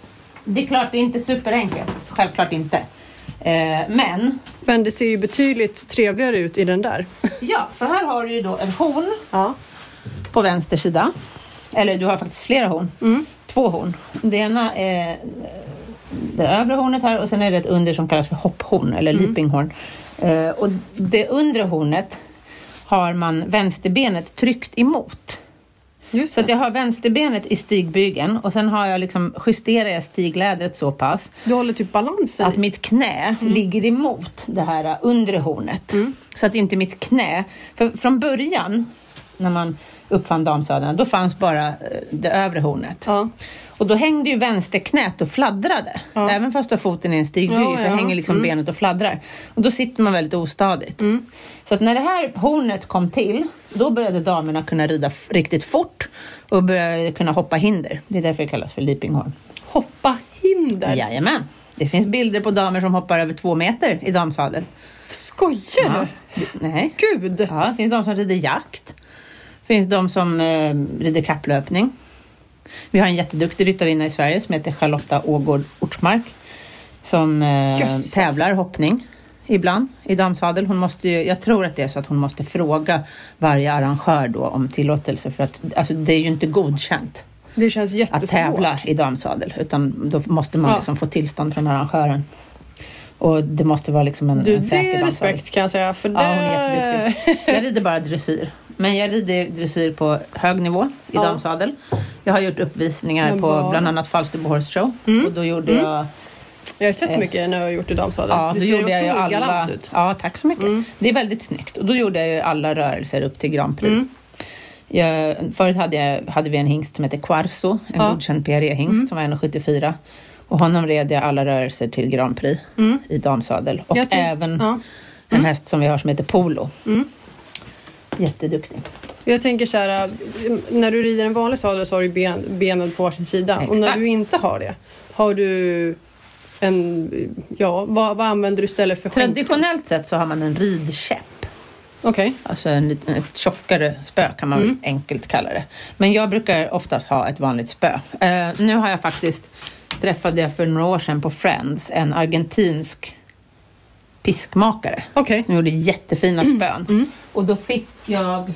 B: det är klart, det är inte superenkelt. Självklart inte. Eh, men
A: Men det ser ju betydligt trevligare ut i den där.
B: ja, för här har du ju då en horn
A: Ja.
B: på vänster sida. Eller du har faktiskt flera horn. Två horn. Det ena är eh, det övre hornet här och sen är det ett under som kallas för hopphorn eller leapinghorn. Eh, och det undre hornet har man vänsterbenet tryckt emot.
A: Just
B: Så att jag har vänsterbenet i stigbygeln och sen har jag liksom, justerar jag stiglädret så pass
A: Du håller typ balansen.
B: att mitt knä
A: Mm.
B: ligger emot det här undre hornet. Så att inte mitt knä... För från början, när man uppfann damsadeln, då fanns bara eh, det övre hornet.
A: Ja.
B: Och då hängde ju vänsterknät och fladdrade.
A: Ja.
B: Även fast du har foten i en stigbygel
A: Ja, Mm.
B: så
A: ja.
B: hänger liksom benet och fladdrar. Och då sitter man väldigt ostadigt.
A: Mm.
B: Så att när det här hornet kom till, då började damerna kunna rida f- riktigt fort och började kunna hoppa hinder. Det är därför det kallas för leapinghorn.
A: Hoppa hinder.
B: Jajamän. Det finns bilder på damer som hoppar över två meter i damsadeln.
A: Skojar du?
B: Ja. Det- Nej.
A: Gud!
B: Ja, det finns de som rider jakt. Det finns de som eh, rider kapplöpning. Vi har en jätteduktig ryttarinna i Sverige som heter Charlotta Ågård Ortmark. Som eh,
A: Jösses.
B: tävlar hoppning ibland i damsadel. Hon måste ju, jag tror att det är så att hon måste fråga varje arrangör då om tillåtelse för att alltså, det är ju inte godkänt
A: Det känns
B: att
A: jättesvårt.
B: tävla i damsadel utan då måste man
A: Ja.
B: liksom få tillstånd från arrangören. Och det måste vara liksom en,
A: Du,
B: en
A: det
B: säker
A: är
B: damsadel.
A: respekt kan jag säga. För
B: Ja, hon är
A: det-
B: jätteduktig. Jag rider bara dressyr. Men jag rider dressyr på hög nivå i
A: Ja.
B: damsadel. Jag har gjort uppvisningar
A: Men Mm.
B: på
A: bara-
B: bland annat Falsterbo Horse Show. Och då gjorde jag,
A: Jag har sett mycket när jag har gjort i damsadeln.
B: Eh. ja,
A: det
B: då
A: ser
B: gjorde jag ju
A: otroligt
B: alla...
A: galant ut. Mm.
B: Ja, tack så mycket. Det är väldigt snyggt. Och då gjorde jag ju alla rörelser upp till Grand
A: Mm.
B: Prix. Jag, förut hade, jag, hade vi en hingst som hette Quarzo, en
A: Ja. Mm.
B: godkänd PRE-hingst som var 1,74. Och honom red jag alla rörelser till Grand Prix i damsadel. Och
A: Mm. Jag tror-
B: även
A: Ja. Mm.
B: en häst som vi har som heter Polo. Jätteduktig.
A: Jag tänker så här, äh, när du rider en vanlig sadel så har du ben, benen på varsin sida. Och när
B: Exakt.
A: du inte har det, har du en... Ja, vad, vad använder du istället för skänk?
B: Traditionellt sett så har man en ridkäpp.
A: Okej.
B: Alltså en liten, ett tjockare spö kan man väl enkelt kalla det. Men jag brukar oftast ha ett vanligt spö. Eh, nu har jag faktiskt, träffade jag för några år sedan på Friends, en argentinsk piskmakare.
A: Okej.
B: De gjorde jättefina spön. Och då fick jag,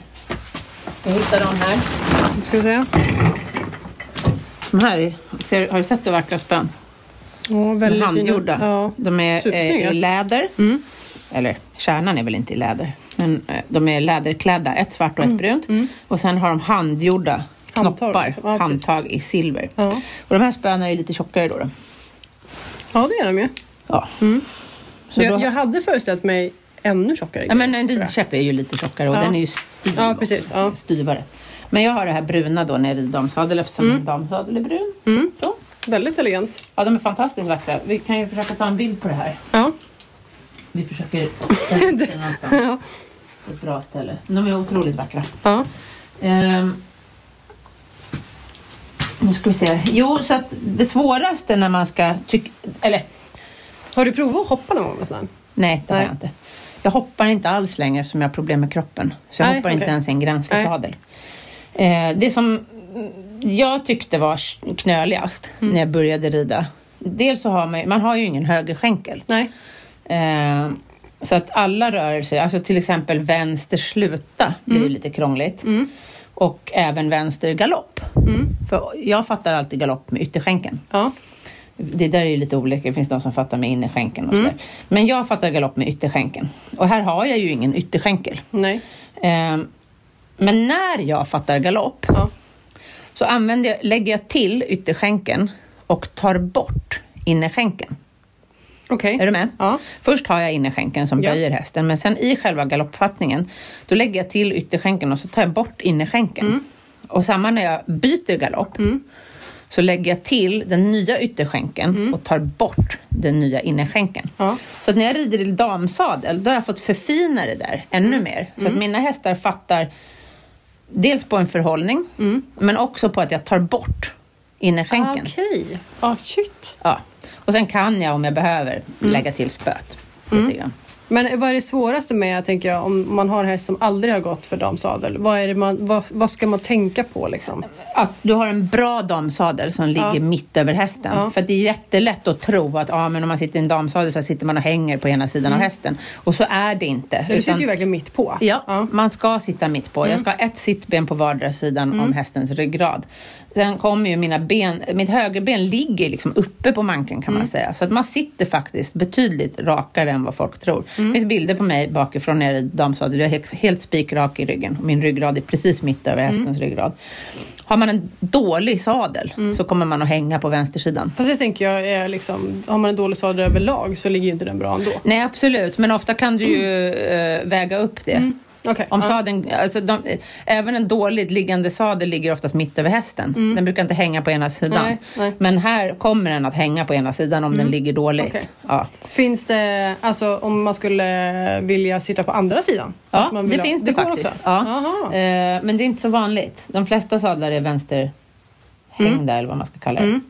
B: jag hittade dem här.
A: Ska vi säga?
B: De här är, ser, har du sett hur vackra spön?
A: Ja,
B: De är
A: väldigt
B: handgjorda.
A: Fina. Ja.
B: De är
A: Supersnygga. Mm.
B: eh, i läder. Eller kärnan är väl inte i läder. Men eh, de är läderklädda. Ett svart och ett brunt. Och sen har de handgjorda
A: Mm. Handtag
B: knoppar.
A: liksom. Ja, precis.
B: handtag i silver.
A: Ja.
B: Och de här spöna är ju lite tjockare då. då.
A: ja, det är de ju.
B: Ja. Så
A: Jag,
B: då
A: jag hade föreställt mig ännu tjockare
B: ja, men
A: grejer,
B: en
A: tror jag.
B: ridkäpp är ju lite tjockare och
A: Ja.
B: den är ju styv
A: Ja, precis.
B: också.
A: Ja.
B: styvare. Men jag har det här bruna då när jag rider damsadel eftersom
A: Mm.
B: damsadel är brun. Så.
A: Väldigt elegant.
B: Ja, de är fantastiskt vackra. Vi kan ju försöka ta en bild på det här.
A: Ja.
B: Vi försöker sätta det någonstans.
A: Ja.
B: Ett bra ställe. De är otroligt vackra.
A: ja.
B: Ehm, nu ska vi se. Jo, så att det svåraste när man ska tycka... Eller
A: Har du provat att hoppa någon gång med sån här?
B: nej, det har
A: Nej.
B: jag inte. Jag hoppar inte alls längre eftersom jag har problem med kroppen. Så jag
A: Nej,
B: hoppar inte
A: okej.
B: ens i en gränslös
A: Nej.
B: sadel. Eh, det som jag tyckte var knöligast
A: Mm.
B: när jag började rida. Dels så har man, man har ju ingen högerskänkel.
A: Nej.
B: Eh, så att alla rörelser, alltså till exempel vänster sluta blir ju lite krångligt. Och även vänster galopp. För jag fattar alltid galopp med ytterskänken.
A: Mm. Ja.
B: Det där är ju lite olika, det finns de som fattar med innerskänken och sådär. Men jag fattar galopp med ytterskänken. Och här har jag ju ingen ytterskänkel.
A: Nej.
B: Eh, men när jag fattar galopp
A: Ja.
B: så använder jag, lägger jag till ytterskänken och tar bort innerskänken.
A: Okej.
B: Är du med?
A: Ja.
B: Först har jag innerskänken som
A: Ja.
B: böjer hästen men sen i själva galoppfattningen då lägger jag till ytterskänken och så tar jag bort innerskänken.
A: Mm.
B: Och samma när jag byter galopp så lägger jag till den nya ytterskänken
A: Mm.
B: och tar bort den nya innerskänken.
A: Ja.
B: Så att när jag rider i damsadel då har jag fått förfina det där ännu
A: Mm.
B: mer. Så att mina hästar fattar dels på en förhållning men också på att jag tar bort innerskänken.
A: Mm. Ah, Okej. Ja, shit. Mm.
B: Ja. Och sen kan jag om jag behöver lägga till spöet. Lite grann.
A: Men vad är det svåraste med, tänker jag, om man har en häst som aldrig har gått för damsadel? Vad, är det man, vad, vad ska man tänka på liksom?
B: att du har en bra damsadel som ligger
A: Ja.
B: mitt över hästen.
A: Ja.
B: För att det är jättelätt att tro att ah, men om man sitter i en damsadel så sitter man och hänger på ena
A: Mm.
B: sidan av hästen. Och så är det inte.
A: Du
B: Utan-
A: sitter ju verkligen mitt på.
B: Ja, man ska sitta mitt på. Jag ska ha ett sittben på vardera sidan om hästens ryggrad. Sen kommer ju mina ben, mitt högerben ligger liksom uppe på manken kan man säga. Så att man sitter faktiskt betydligt rakare än vad folk tror. Det finns bilder på mig bakifrån nere i damsadel. Jag är helt, helt spikrak i ryggen. Min ryggrad är precis mitt över hästens ryggrad. Har man en dålig sadel så kommer man att hänga på vänstersidan.
A: Fast det tänker jag är liksom, har man en dålig sadel överlag så ligger ju inte den bra ändå.
B: Nej, absolut. Men ofta kan du ju eh, väga upp det.
A: Okej.
B: Om
A: ja.
B: sadeln, alltså de, även en dåligt liggande sadel ligger oftast mitt över hästen. Den brukar inte hänga på ena sidan.
A: Mm. Nej, nej. Mm.
B: Men här kommer den att hänga på ena sidan om den ligger dåligt.
A: Okej.
B: Ja.
A: Finns det, alltså om man skulle vilja sitta på andra sidan?
B: Ja,
A: Att man vill
B: det
A: ha-
B: finns det,
A: går
B: faktiskt.
A: också?
B: Ja.
A: Jaha.
B: Eh, men det är inte så vanligt. De flesta sadlar är vänsterhängda
A: Mm.
B: eller vad man ska kalla det.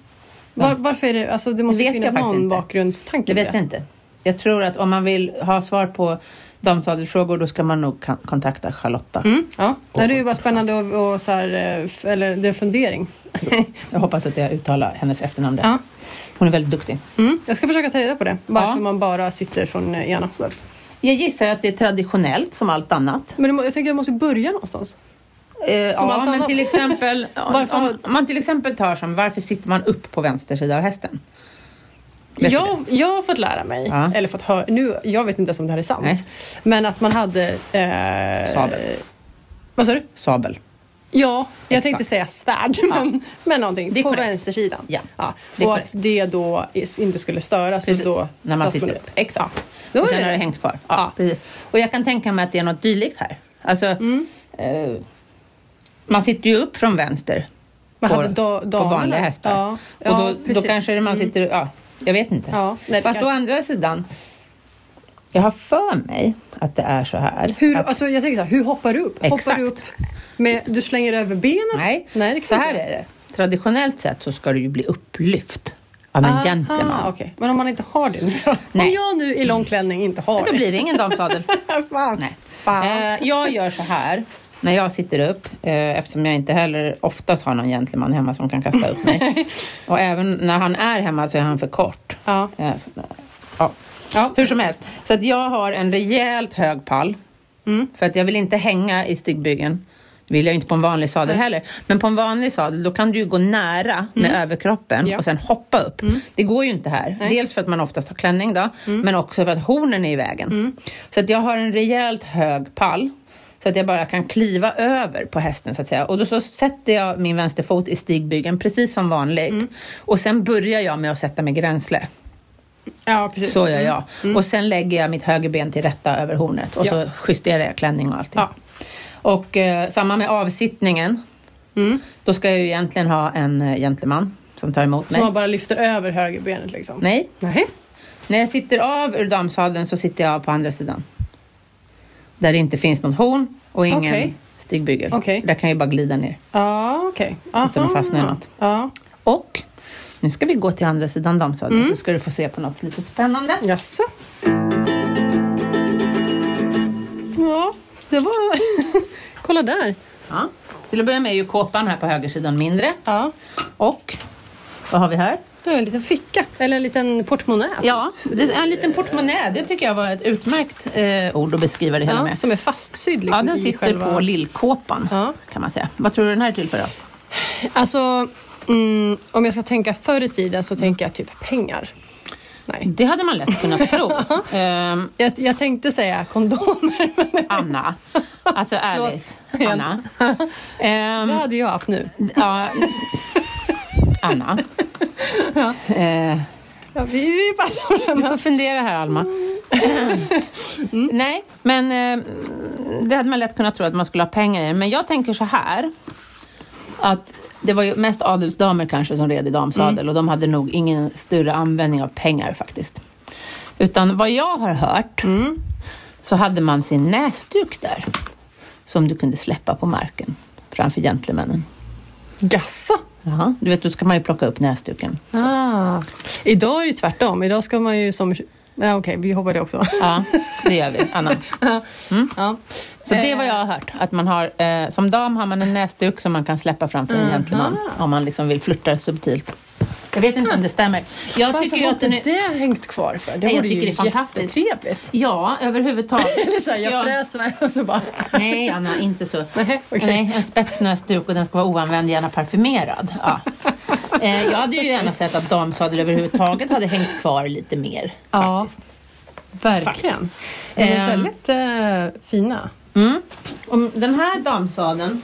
A: Var, varför är det, alltså det måste
B: Det
A: ju
B: vet
A: finnas
B: jag faktiskt
A: någon
B: inte.
A: bakgrundstanke
B: Det vet jag inte. Jag tror att om man vill ha svar på damsadelfrågor då ska man nog kan- kontakta Charlotta.
A: Mm, ja. Nej, det är ju bara spännande och, och så här, eh, f- eller det är en fundering.
B: Jag hoppas att jag uttalar hennes efternamn rätt.
A: Ja.
B: Hon är väldigt duktig.
A: Mm. Jag ska försöka ta reda på det, varför
B: Ja.
A: man bara sitter från eh, ena hållet.
B: Jag gissar att det är traditionellt som allt annat.
A: Men det må- jag tänker att jag måste börja någonstans.
B: Eh,
A: Som
B: ja,
A: allt
B: men
A: annat.
B: till exempel, om,
A: Varför
B: om man till exempel tar som, varför sitter man upp på vänster sida av hästen? Vet du
A: Jag, jag har fått lära mig,
B: Ja.
A: eller fått höra, nu, jag vet inte ens om det här är sant,
B: Nej.
A: men att man hade... Eh,
B: Sabel.
A: Vad sa du?
B: Sabel.
A: Ja, jag
B: Exakt.
A: tänkte säga svärd, men, men någonting.
B: Det är
A: på
B: korrekt.
A: vänstersidan.
B: Ja, det är
A: Och
B: korrekt.
A: att det då is- inte skulle störas.
B: Precis,
A: Och då
B: när man
A: satt
B: sitter upp. Exakt.
A: Då
B: Och
A: är
B: sen
A: det
B: har det
A: rätt.
B: hängt kvar. Ja,
A: Ja.
B: Precis. Och jag kan tänka mig att det är något dylikt här. Alltså,
A: Mm.
B: eh, man sitter ju upp från vänster
A: Man
B: på,
A: hade da-
B: på
A: damerna.
B: vanliga hästar.
A: Ja,
B: och
A: ja,
B: då, då
A: precis. Mm.
B: kanske det man sitter, ja, jag vet inte.
A: Ja, nej, det
B: Fast å
A: kanske-
B: andra sidan, jag har för mig att det är så här.
A: Hur,
B: att,
A: alltså, jag tänker så här, hur hoppar du upp? Hoppar
B: Exakt.
A: du upp med, du slänger över benen?
B: Nej,
A: Nej, det
B: så
A: kan
B: här
A: inte.
B: är det. Traditionellt sett så ska du ju bli upplyft av en
A: Aha,
B: gentleman.
A: okej. Men om man inte har det nu då? Om
B: Nej.
A: jag nu i lång klänning inte har
B: Då
A: det.
B: blir det ingen damsadel.
A: Fan.
B: Nej.
A: Fan.
B: Eh, jag gör så här när jag sitter upp, eh, eftersom jag inte heller oftast har någon gentleman hemma som kan kasta upp mig. Och även när han är hemma så är han för kort.
A: Ja.
B: Eh, ja.
A: Ja.
B: Hur som helst, så att jag har en rejält hög pall.
A: Mm.
B: För att jag vill inte hänga i stigbyggen. Det vill jag ju inte på en vanlig sadel heller. Men på en vanlig sadel då kan du ju gå nära med överkroppen
A: Mm. Ja. Mm.
B: och sen hoppa upp. Det går ju inte här. Dels för att man oftast har klänning då, men också för att hornen är i vägen.
A: Mm.
B: Så att jag har en rejält hög pall. Så att jag bara kan kliva över på hästen så att säga. Och då så sätter jag min vänsterfot i stigbygeln precis som vanligt.
A: Mm.
B: Och sen börjar jag med att sätta mig gränsle.
A: ja, precis.
B: Så gör jag. Och sen lägger jag mitt högerben till rätta över hornet och
A: Mm. Ja.
B: så justerar jag klänning och allting.
A: Ja.
B: Och eh, samma med avsittningen.
A: Mm.
B: Då ska jag ju egentligen ha en eh, gentleman som tar emot
A: Så
B: mig.
A: man bara lyfter över högerbenet liksom?
B: Nej,
A: Nej.
B: när jag sitter av ur damsadeln så sitter jag av på andra sidan. Där det inte finns något horn och ingen
A: Okej.
B: stigbygel.
A: Okej.
B: Där kan jag ju bara glida ner.
A: Ja, okej.
B: Utan att
A: Aha.
B: fastna i något.
A: Ja.
B: Och nu ska vi gå till andra sidan damsadeln
A: Mm.
B: så ska du få se på något lite spännande.
A: Jaså? Ja, det var... Kolla där.
B: Ja. Till att börja med är ju kåpan här på högersidan mindre.
A: Ja.
B: Och vad har vi här?
A: Det var en liten ficka, eller en liten portmonnä.
B: Ja, det är en liten portmonnä. Det tycker jag var ett utmärkt eh, ord att beskriva det hela
A: Ja,
B: med.
A: som är fastsydd liksom
B: Ja, den
A: i
B: sitter
A: själva...
B: på lillkåpan
A: Ja.
B: kan man säga. Vad tror du den här är till för då?
A: Alltså, mm, om jag ska tänka förr i tiden så tänker jag typ pengar. Nej.
B: Det hade man lätt kunnat tro. Ehm,
A: Jag, jag tänkte säga kondomer, men
B: Anna, alltså ärligt.
A: Förlåt.
B: Anna.
A: det
B: Ehm,
A: hade jag haft nu.
B: ja. Anna. Eh,
A: Ja, vi, vi passar på den.
B: Du får fundera här Alma. Nej, men eh, det hade man lätt kunnat tro att man skulle ha pengar i. Men jag tänker så här. Att det var ju mest adelsdamer kanske som red i damsadel och de hade nog ingen större användning av pengar faktiskt. Utan vad jag har hört så hade man sin näsduk där som du kunde släppa på marken framför gentlemännen.
A: Gassa!
B: Jaha. Du vet, då ska man ju plocka upp näsduken.
A: Ah. Idag är det tvärtom. Idag ska man ju som Ja, Okej, vi hoppar det också.
B: Ja, det gör vi. Anna.
A: Ja.
B: Så det är
A: Eh.
B: vad jag har hört. Att man har, eh, som dam har man en näsduk som man kan släppa framför
A: Mm.
B: en gentleman.
A: Ah.
B: Om man liksom vill flirta subtilt. Jag vet inte om det stämmer. Jag
A: Varför
B: tycker ju
A: har
B: att
A: inte
B: den är...
A: det hängt kvar för? Det
B: Jag
A: vore
B: tycker
A: ju
B: det är fantastiskt.
A: jättetrevligt.
B: Ja, överhuvudtaget.
A: Eller så här, jag
B: Ja.
A: fräser mig och så bara...
B: Nej, Anna, inte så.
A: Nej, okej.
B: Nej, en spetsnäsduk och den ska vara oanvänd, gärna parfymerad. Ja. Eh, jag hade ju gärna sett att damsadel överhuvudtaget hade hängt kvar lite mer.
A: Ja,
B: Faktiskt.
A: verkligen. De är
B: Ehm.
A: väldigt eh, fina.
B: Mm. Om den här damsadeln,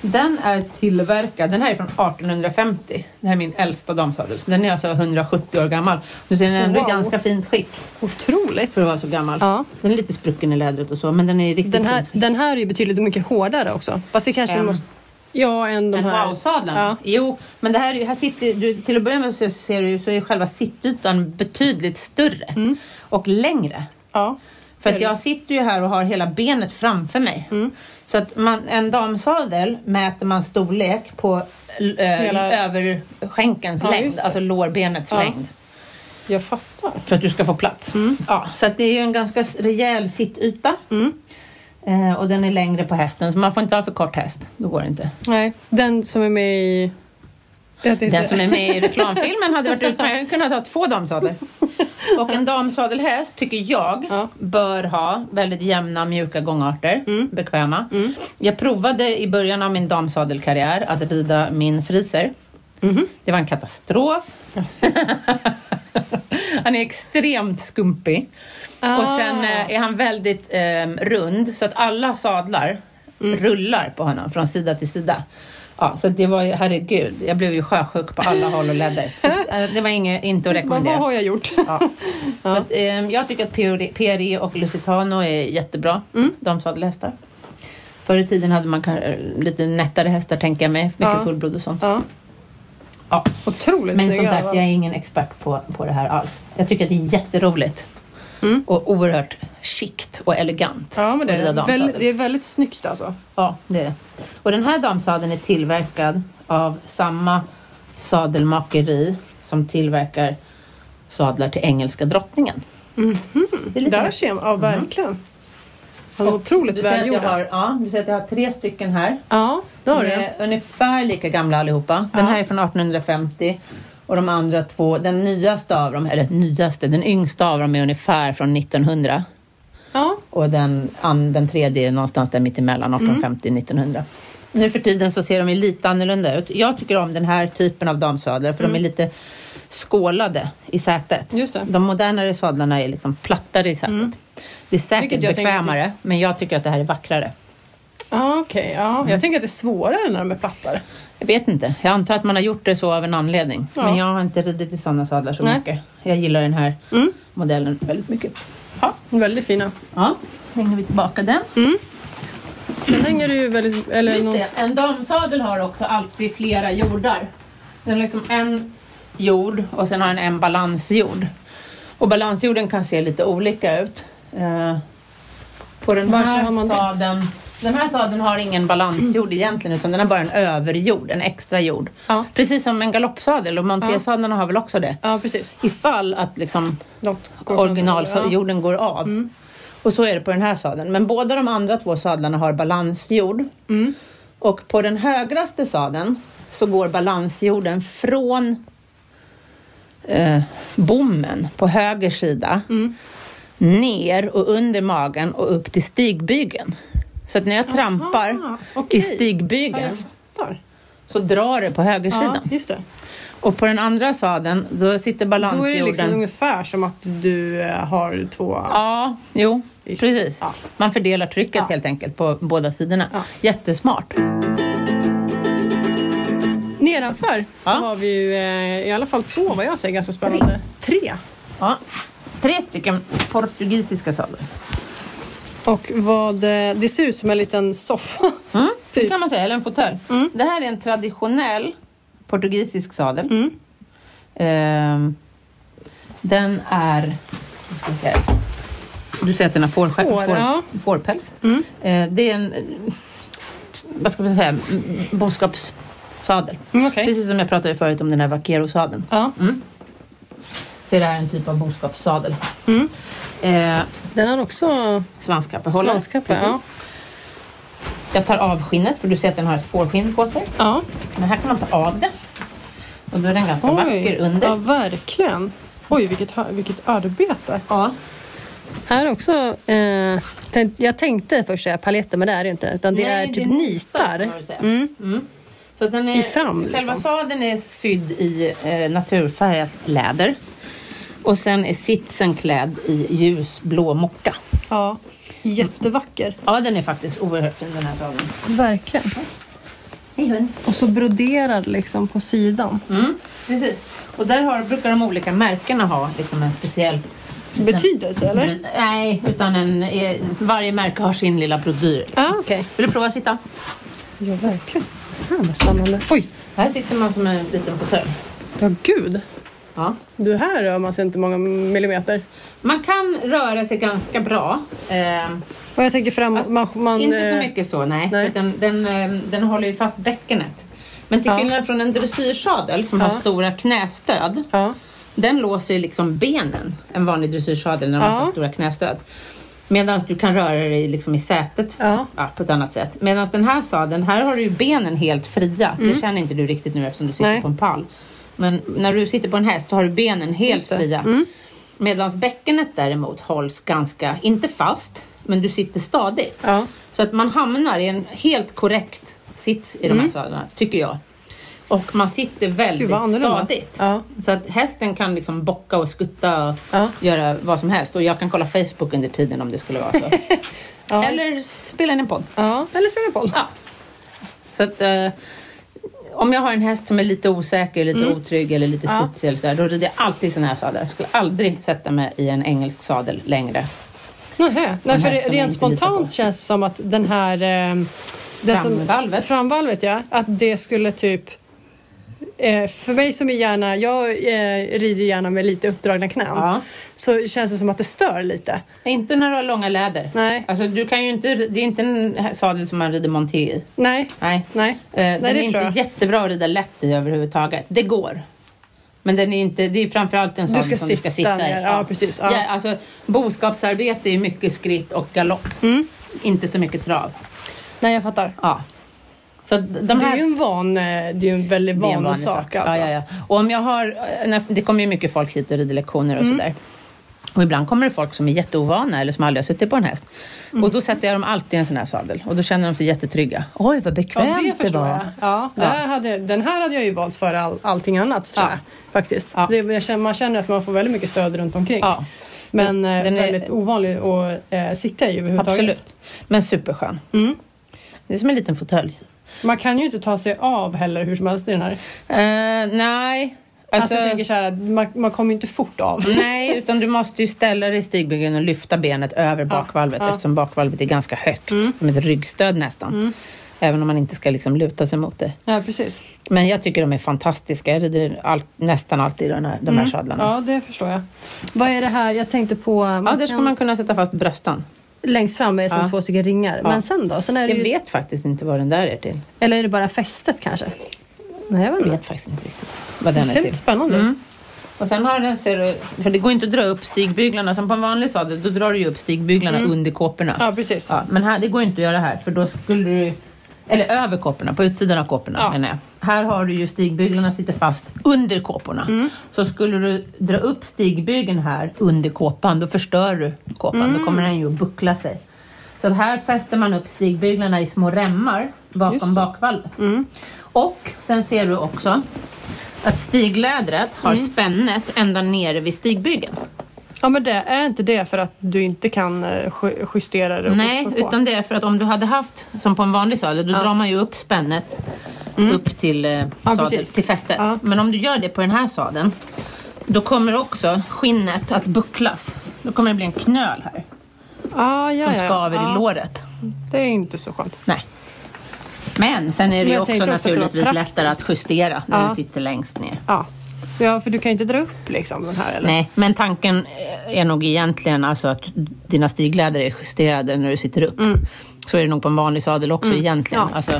B: den är tillverkad, den här är från 1850. Det här är min äldsta damsadel. Så den är alltså 170 år gammal. Du ser den är ändå i
A: Wow.
B: ganska fint skick
A: Otroligt.
B: för att vara så gammal.
A: Ja.
B: Den är lite sprucken i lädret och så, men den är riktigt
A: Den här,
B: fin.
A: den här är ju betydligt mycket hårdare också. Fast det kanske
B: Än-
A: måste... Ja, än de
B: Den
A: här.
B: wow-sadeln?
A: Ja.
B: Jo, men det här, är ju- här sitter, du, till att börja med så ser du ju så är själva sittytan betydligt större
A: Mm.
B: och längre.
A: Ja.
B: För
A: Det Mm. är
B: att
A: det.
B: jag sitter ju här och har hela benet framför mig. Så att man, en damsadel mäter man storlek på eh,
A: Hela-
B: överskänkens
A: Ja,
B: längd,
A: just det.
B: alltså lårbenets
A: Ja. Mm.
B: längd.
A: Jag fattar.
B: För att du ska få plats. Ja, så att det är ju en ganska s- rejäl sittyta.
A: Mm.
B: Eh, och den är längre på hästen, så man får inte ha för kort häst. Då går det inte.
A: Nej, den som är med i... Jag tänkte
B: Den
A: säga-
B: som är med i reklamfilmen hade varit utmärkt. kunnat ha två damsadlar. Och en damsadelhäst tycker jag
A: Ja.
B: bör ha väldigt jämna, mjuka gångarter. Bekväma. Jag provade i början av min damsadelkarriär att rida min friser. Det var en katastrof. han är extremt skumpig.
A: Ah.
B: Och sen eh, är han väldigt ehm, rund så att alla sadlar Mm. rullar på honom från sida till sida. Ja, så det var ju, herregud, jag blev ju sjösjuk på alla håll och ledder. Så, att, eh, det var inget, inte
A: Vad,
B: att
A: vad
B: rekommendera.
A: har jag gjort?
B: Ja. Så att, ehm, jag tycker att PRE PRE och Lusitano är jättebra, de sadelhästar. Förr i tiden hade man kan- lite nättare hästar tänker jag mig, mycket
A: Ja.
B: fullblod och sånt.
A: Ja.
B: Ja.
A: Otroligt
B: Men som
A: snygga
B: sagt,
A: öron.
B: jag är ingen expert på, på det här alls. Jag tycker att det är jätteroligt.
A: Mm.
B: Och oerhört chikt och elegant.
A: Ja, men det
B: att rida
A: är, väl,
B: damsadel.
A: det är väldigt snyggt alltså.
B: Ja, det är det. Och den här damsadeln är tillverkad av samma sadelmakeri som tillverkar sadlar till engelska drottningen.
A: Mhm.
B: Så Det är lite Mhm.
A: Där ser man, ja verkligen. Han är otroligt
B: du ser, att jag
A: välgjord.
B: har, ja, du ser att jag har tre stycken här.
A: Ja, det har
B: De
A: du.
B: är ungefär lika gamla allihopa. Den
A: Ja.
B: här är från 1850 och de andra två, den nyaste av dem, eller nyaste, den yngsta av dem är ungefär från 1900.
A: Ja,
B: Och den, an, den tredje är någonstans där
A: Mm.
B: mittemellan, 1850 1900. Nu för tiden så ser de ju lite annorlunda ut. Jag tycker om den här typen av damsadlar för de är lite skålade i sätet.
A: Mm. Just det. Mm.
B: De modernare sadlarna är liksom plattare i sätet. Det är säkert
A: Vilket jag tänker-
B: bekvämare, men jag tycker att det här är vackrare.
A: ja okej. Ja.
B: Mm.
A: Jag tänker att det är svårare när de är plattare.
B: Jag vet inte. Jag antar att man har gjort det så av en anledning.
A: Ja.
B: Men jag har inte ridit i sådana sadlar så
A: Nej.
B: mycket. Jag gillar den här
A: Mm.
B: modellen väldigt mycket.
A: Ja, väldigt fina.
B: Ja, hänger vi tillbaka den.
A: Den hänger ju väldigt... Eller
B: Just
A: någon,
B: det. En damsadel har också alltid flera jordar. Den har liksom en jord och sen har den en balansjord. Och balansjorden kan se lite olika ut. Eh, På den
A: Varför
B: här
A: har man det? Mm.
B: sadeln den här sadeln har ingen balansjord egentligen utan den har bara en överjord, en extra jord.
A: Ja.
B: Precis som en galoppsadel och montésadlarna har väl också det.
A: ja, precis.
B: Ifall att liksom
A: Något går sönder. Ja. Mm.
B: originaljorden går av. Och så är det på den här sadeln. Men båda de andra två sadlarna har balansjord.
A: Mm.
B: Och på den högraste sadeln så går balansjorden från eh, bommen på höger sida
A: Mm.
B: ner och under magen och upp till stigbygeln. Så att när jag trampar
A: okej.
B: i
A: Ja, jag
B: stigbygeln
A: fattar.
B: så drar det på högersidan.
A: Ja, just det.
B: Och på den andra sadeln då sitter
A: Då är det
B: balansjorden
A: liksom ungefär som att du eh, har två...
B: Ja, jo,
A: Ish.
B: precis.
A: Ja.
B: Man fördelar trycket
A: Ja.
B: helt enkelt på båda sidorna.
A: Ja.
B: Jättesmart.
A: Nedanför så
B: Ja.
A: har vi ju eh, i alla fall två vad jag ser ganska spännande. Tre.
B: Ja. Tre stycken portugisiska sadlar.
A: Och vad... eh, Det ser ut som en liten soffa.
B: Mm.
A: Typ. Mm.
B: Det kan man säga, eller en fåtölj. Det här är en traditionell portugisisk sadel.
A: Mm.
B: Ehm, den är... nu ska vi se här. Du säger att den har fårskä-
A: Får,
B: får,
A: ja.
B: fårpäls. Ehm, det är en, eh, vad ska man säga, m- boskapssadel.
A: Mm, Okej.
B: Precis som jag pratade förut om den här vaquerosadeln.
A: Ja.
B: Mm. så är det här en typ av boskapssadel.
A: Mm.
B: Eh,
A: Den har också
B: svanskappehållare.
A: svanskappa. Ja.
B: Precis. Jag tar av skinnet för du ser att den har ett fårskinn på sig.
A: ja.
B: Men här kan man ta av det. Och då är den ganska vacker
A: Oj,
B: under.
A: ja verkligen. Oj, vilket, ha- vilket arbete.
B: Ja.
A: Här också, eh, tänk, jag tänkte först säga paletter men det är det inte. Utan det
B: Nej,
A: är typ
B: är
A: nitar.
B: kan man väl säga.
A: Mm.
B: Mm. Så den är,
A: I fram,
B: själva
A: liksom.
B: sadeln är sydd i eh, naturfärgat läder. Och sen är sitsen klädd i ljusblå mocka.
A: Ja, jättevacker.
B: Ja, den är faktiskt oerhört fin den här sadeln.
A: Verkligen.
B: Hej hund.
A: Och så broderad liksom på sidan.
B: Mm, precis. Och där har, brukar de olika märkena ha liksom en speciell...
A: Betydelse eller?
B: Nej, utan en, eh, varje märke har sin lilla brodyr.
A: Ja, ah, okej.
B: Vill du prova att sitta?
A: Ja, verkligen. Fan vad spännande. Oj,
B: Här sitter man som en liten fåtölj.
A: ja gud.
B: Ja.
A: Du här rör man sig inte många millimeter.
B: Man kan röra sig ganska bra. Eh,
A: Och jag tänker fram... man, man,
B: Inte så
A: eh,
B: mycket så, nej.
A: nej.
B: Den, den, eh, den håller ju fast bäckenet. Men till
A: Ja.
B: skillnad från en dressyrsadel som
A: Ja.
B: har stora knästöd.
A: Ja.
B: Den låser ju liksom benen. En vanlig dressyrsadel när de
A: Ja.
B: har så stora knästöd. Medan du kan röra dig liksom i sätet
A: Ja.
B: på ett annat sätt. Medan den här sadeln, här har du ju benen helt fria. Det känner inte du riktigt nu eftersom du sitter
A: Mm. Nej.
B: på en pall. Men när du sitter på en häst så har du benen helt
A: Just det. Mm.
B: fria. Medan bäckenet däremot hålls ganska, inte fast, men du sitter stadigt.
A: Ja.
B: Så att man hamnar i en helt korrekt sits i de här sadlarna, tycker jag. Och man sitter
A: Mm. Gud,
B: väldigt
A: vad annorlunda.
B: stadigt.
A: Ja.
B: Så att hästen kan liksom bocka och skutta och
A: Ja.
B: göra vad som helst. Och jag kan kolla Facebook under tiden om det skulle vara så.
A: Ja.
B: Eller spela in en podd.
A: ja. Eller spela boll.
B: Ja. Så att eh, om jag har en häst som är lite osäker, lite otrygg eller lite
A: Mm. Ja.
B: studsig eller sådär. Då rider jag alltid sådana här sadlar. Jag skulle aldrig sätta mig i en engelsk sadel längre.
A: Nähä. Nej,
B: Den
A: för
B: här
A: det-
B: som jag
A: rent
B: inte litar på.
A: spontant känns det som att den här... Eh, den
B: Framvalvet.
A: Som, framvalvet, ja. Att det skulle typ... Eh, för mig som är gärna... Jag eh, rider gärna med lite uppdragna knän.
B: Ja.
A: Så känns det som att det stör lite.
B: Inte när du har långa läder.
A: Nej.
B: Alltså, du kan ju inte, det är inte en sadel som man rider monté i.
A: Nej.
B: Nej.
A: Nej.
B: Eh, den
A: det
B: är
A: tror
B: inte
A: jag.
B: jättebra att rida lätt i överhuvudtaget. Det går. Men den är inte, det är framförallt en sadel
A: ska
B: som du
A: sitta
B: ska sitta i.
A: ner. Ja, precis. Ja.
B: alltså, boskapsarbete är mycket skritt och galopp.
A: Mm.
B: Inte så mycket trav.
A: Nej, jag fattar.
B: Ja. Så att de
A: Det
B: här
A: är ju en van... eh, Det är ju en väldigt
B: det är
A: van
B: en vanlig
A: sak
B: Ja,
A: alltså.
B: ja, ja. Och om jag har, eh, när, det kommer ju mycket folk hit och rider lektioner
A: Mm.
B: och sådär. Och ibland kommer det folk som är jätteovana eller som aldrig har suttit på en häst.
A: Mm.
B: Och då sätter jag dem alltid i en sån här sadel och då känner de sig jättetrygga. Oj, vad
A: Ja,
B: bekvämt
A: det
B: det
A: förstår
B: var.
A: jag. Ja,
B: Ja.
A: där Hade, den här hade jag ju valt före all, allting annat tror
B: Ja.
A: jag. Faktiskt.
B: Ja.
A: Det, jag känner, man känner att man får väldigt mycket stöd runt omkring.
B: Ja,
A: Men eh,
B: Den är-
A: väldigt ovanlig att eh, sikta i överhuvudtaget.
B: absolut. Men superskön.
A: Mm.
B: Det är som en liten fåtölj.
A: Man kan ju inte ta sig av heller hur som helst i den här. Alltså,
B: Eh, nej. Alltså,
A: jag tänker så här, att man, man kommer ju inte fort av.
B: Nej, utan du måste ju ställa dig i stigbygeln och lyfta benet över bakvalvet
A: ja. Mm.
B: eftersom bakvalvet är ganska högt, som ett ryggstöd nästan. Även om man inte ska liksom luta sig mot det.
A: Ja, precis.
B: Men jag tycker de är fantastiska. Jag rider all, nästan alltid i de här, de här sadlarna. Ja.
A: Mm. Ja, det förstår jag. Vad är det här? Jag tänkte på... man
B: där ska
A: kan-
B: man kunna sätta fast bröstan.
A: Längst fram är det som
B: Ja.
A: två stycken ringar. Men sen då? Sen är det
B: Jag
A: ju,
B: vet faktiskt inte vad den där är till.
A: Eller är det bara fästet kanske? Nej, jag vet
B: Jag
A: inte.
B: vet faktiskt inte riktigt vad
A: Mm. Det
B: den är
A: ser
B: till.
A: lite spännande ut.
B: Mm. Och sen har den, ser du, för det går inte att dra upp stigbyglarna. Som på en vanlig sadel, då drar du ju upp stigbyglarna under kåporna.
A: Mm. Ja, precis.
B: Ja, men här, det går inte att göra här för då skulle du... Eller över kåporna, på utsidan av kåporna
A: Ja.
B: menar jag. Här har du ju stigbyglarna sitter fast under kåporna. Så skulle du dra upp stigbygeln här under kåpan, då förstör du kåpan. Då kommer den ju att buckla sig. Så att här fäster man upp stigbyglarna i små remmar
A: Just
B: bakom
A: det.
B: bakvalvet. Och sen ser du också att stiglädret har spännet ända nere vid stigbygeln.
A: Ja, men det är inte det för att du inte kan eh, ju- justera det? och
B: Nej,
A: upp och på?
B: utan det är för att om du hade haft, som på en vanlig sadel, då drar man ju upp spännet upp till, eh,
A: Mm. Ja,
B: sadel,
A: precis.
B: till fästet.
A: Ja.
B: Men om du gör det på den här sadeln, då kommer också skinnet att bucklas. Då kommer det bli en knöl här
A: Ah, ja,
B: som
A: ja, ja.
B: skaver
A: ja,
B: i låret.
A: Det är inte så skönt.
B: Nej. Men sen är det
A: Men
B: ju
A: jag
B: också
A: tänkte också att det var
B: naturligtvis
A: praktiskt.
B: lättare att justera när
A: Ja.
B: den sitter längst ner.
A: Ja. ja, för du kan ju inte dra upp liksom den här eller?
B: Nej, men tanken eh, är nog egentligen alltså att dina stigläder är justerade när du sitter upp. Så är det nog på en vanlig sadel också egentligen.
A: Mm. Ja.
B: Alltså,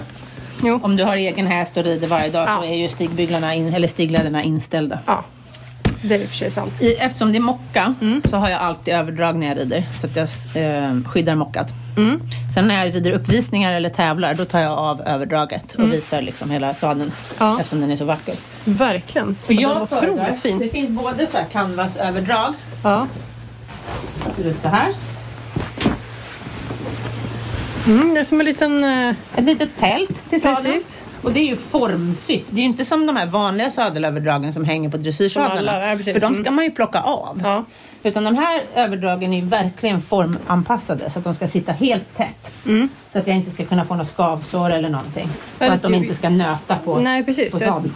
A: Jo.
B: Om du har egen häst och rider varje dag
A: Ja.
B: så är ju stigbyglarna in, eller stigläderna inställda.
A: Ja. det är i och för sig sant.
B: I, eftersom det är mocka så har jag alltid överdrag när jag rider. Så att jag eh, skyddar mockat. Sen när jag rider uppvisningar eller tävlar då tar jag av överdraget och visar liksom hela sadeln.
A: Ja.
B: Eftersom den är så vacker.
A: Verkligen.
B: Och
A: den var
B: jag föredrar-
A: otroligt
B: Det
A: fin.
B: finns både så här canvasöverdrag.
A: Ja.
B: Det ser ut så här.
A: Mm, det är som en liten... eh,
B: Ett litet tält till sadeln.
A: Precis.
B: Och det är ju formfritt. Det är ju inte som de här vanliga sadelöverdragen som hänger på
A: Som alla,
B: dressyrsadlarna.
A: ja, precis.
B: För de ska
A: Mm.
B: man ju plocka av.
A: Ja.
B: Utan de här överdragen är ju verkligen formanpassade så att de ska sitta helt tätt.
A: Mm.
B: Så att jag inte ska kunna få något skavsår eller någonting. Och
A: Eller
B: att de
A: typ-
B: inte ska nöta på,
A: Nej, precis.
B: på
A: Jag-
B: sadeln.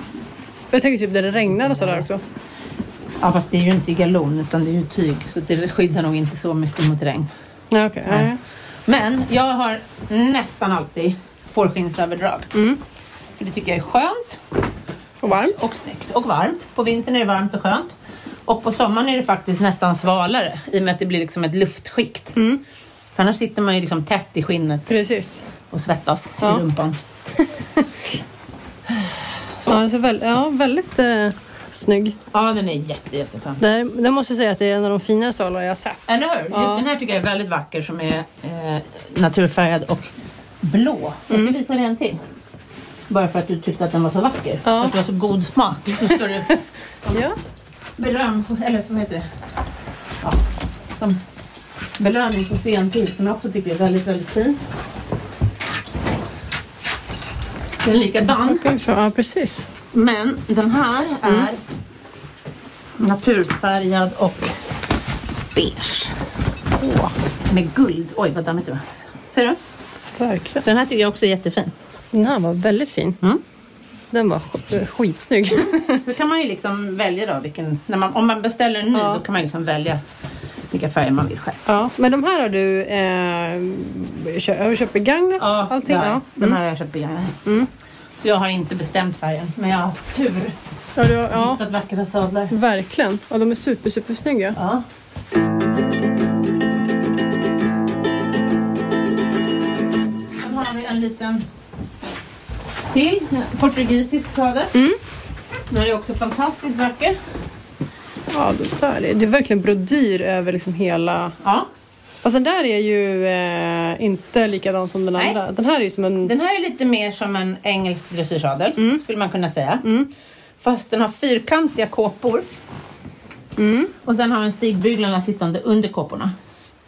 A: Jag tänker typ där det regnar och sådär också.
B: Ja, fast det är ju inte galon utan det är ju tyg. Så det skyddar nog inte så mycket mot regn.
A: Ja, okej. Ja, ja.
B: Men jag har nästan alltid fårskinnsöverdrag.
A: Mm.
B: För det tycker jag är skönt.
A: Och varmt.
B: och snyggt och varmt. På vintern är det varmt och skönt. Och på sommaren är det faktiskt nästan svalare i och med att det blir liksom ett luftskikt. För annars sitter man ju liksom tätt i skinnet
A: Precis.
B: och svettas
A: Ja.
B: i rumpan.
A: Ja, den är så väl, ja, väldigt eh, snygg.
B: Ja, den är jätte, jätteskön.
A: Det, här- det måste jag säga att det är en av de finare salar jag har sett.
B: Eller hur?
A: Ja.
B: Just den här tycker jag är väldigt vacker som är eh, naturfärgad och blå. Jag ska visa dig en till. Bara för att du tyckte att den var så vacker.
A: Ja.
B: För att du har så god smak. Så står det
A: Ja.
B: beröm, eller vad heter det? Ja, som belöning på stentid som jag också tycker är väldigt, väldigt fin. Den är likadan,
A: ja, precis.
B: men den här är naturfärgad och beige. Åh, med guld. Oj, vad dammigt det var. Ser du?
A: Verkligen.
B: Så den här tycker jag också är jättefin.
A: Den här var väldigt fin.
B: Mm.
A: Den var sk- eh, skitsnygg.
B: Då kan man ju liksom välja då vilken, när man, om man beställer en ny
A: Ja.
B: då kan man liksom välja vilka färger man vill själv.
A: ja, men de här har du eh, kö- har du köpt begagnat?
B: Ja,
A: allting?
B: där.
A: Ja. Mm.
B: de här har jag köpt begagnade. Så jag har inte bestämt färgen, men jag har haft tur.
A: Ja, du, har- ja,
B: Hittat vackra sadlar.
A: verkligen. Ja, de är super, super snygga.
B: Ja. Sen har vi en liten till portugisisk sadel.
A: Mm.
B: Den här är också fantastiskt vacker.
A: Ja, det, där är, det är verkligen brodyr över liksom hela...
B: Ja.
A: Fast den där är ju eh, inte likadan som den
B: Nej.
A: andra. Den här är ju som en...
B: Den här är lite mer som en engelsk dressyrsadel,
A: Mm.
B: skulle man kunna säga. Fast den har fyrkantiga kåpor
A: Mm,
B: och sen har den stigbyglarna sittande under kåporna.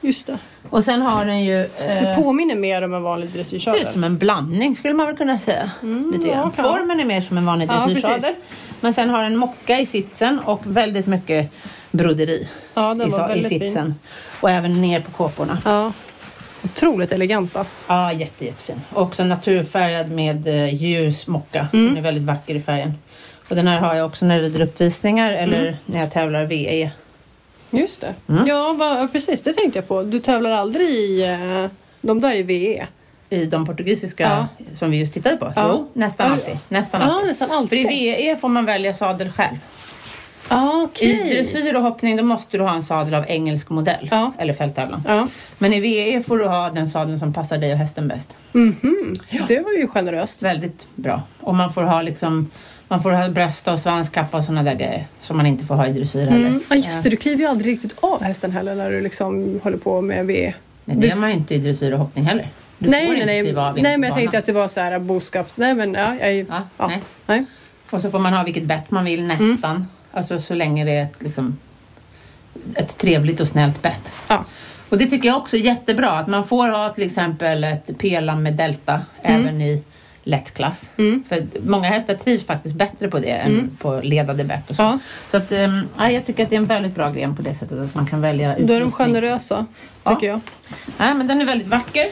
A: just det.
B: Och sen har den ju...
A: Det
B: Eh,
A: påminner mer om en vanlig
B: ser ut
A: dressyrkörare.
B: som en blandning skulle man väl kunna säga. Lite
A: Mm, ja,
B: grann.
A: kan.
B: Formen är mer som en vanlig
A: Ja,
B: dressyrsadel.
A: precis.
B: Men sen har den mocka i sitsen och väldigt mycket broderi
A: Ja, den
B: i, sa-
A: var
B: i
A: väldigt
B: sitsen.
A: fin.
B: Och även ner på kåporna.
A: Ja. Otroligt eleganta.
B: Ja, jätte, jättefin. Och också naturfärgad med eh, ljus mocka.
A: Mm.
B: Så den är väldigt vacker i färgen. Och den här har jag också när jag rider uppvisningar eller
A: Mm.
B: när jag tävlar E VE.
A: Just det. Ja, va, ja, precis. Det tänkte jag på. Du tävlar aldrig i... Eh, de där i E. VE.
B: I de portugisiska
A: Ja.
B: som vi just tittade på.
A: Ja.
B: Jo, nästan
A: Ja.
B: alltid. Nästan
A: Ja,
B: alltid.
A: nästan
B: För i E.
A: alltid.
B: VE får man välja sadel själv.
A: Ja,
B: I
A: Ah, okej.
B: dressyr och hoppning då måste du ha en sadel av engelsk modell.
A: Ja.
B: Eller fälttävlan.
A: Ja.
B: Men i VE får du ha den sadeln som passar dig och hästen bäst.
A: Mhm. Det var ju generöst.
B: Väldigt bra. Och man får ha liksom man får ha bröst och svanskappa och sådana där grejer som man inte får ha i dressyr heller.
A: Mm. Ja, just det. Du kliver ju aldrig riktigt av hästen heller när du liksom håller på med VE.
B: Nej, det
A: Du-
B: gör man ju inte i dressyr och hoppning heller. Du får
A: nej,
B: inte
A: nej, nej.
B: kliva av
A: nej, men jag
B: banan.
A: tänkte att det var så här boskaps... Nej, men ja. Jag, är ju-
B: Ja,
A: ja. Mm.
B: nej.
A: nej.
B: Och så får man ha vilket bett man vill nästan. Alltså så länge det är ett, liksom, ett trevligt och snällt bett.
A: Ja.
B: Och det tycker jag också är jättebra att man får ha till exempel ett pelan med delta även i lättklass. För många hästar trivs faktiskt bättre på det än på ledade bett och så.
A: Ja.
B: Så att, ehm, ja, jag tycker att det är en väldigt bra gren på det sättet att man kan välja
A: Då är de
B: utrustning.
A: generösa,
B: Ja.
A: tycker jag.
B: Nej, men den är väldigt vacker.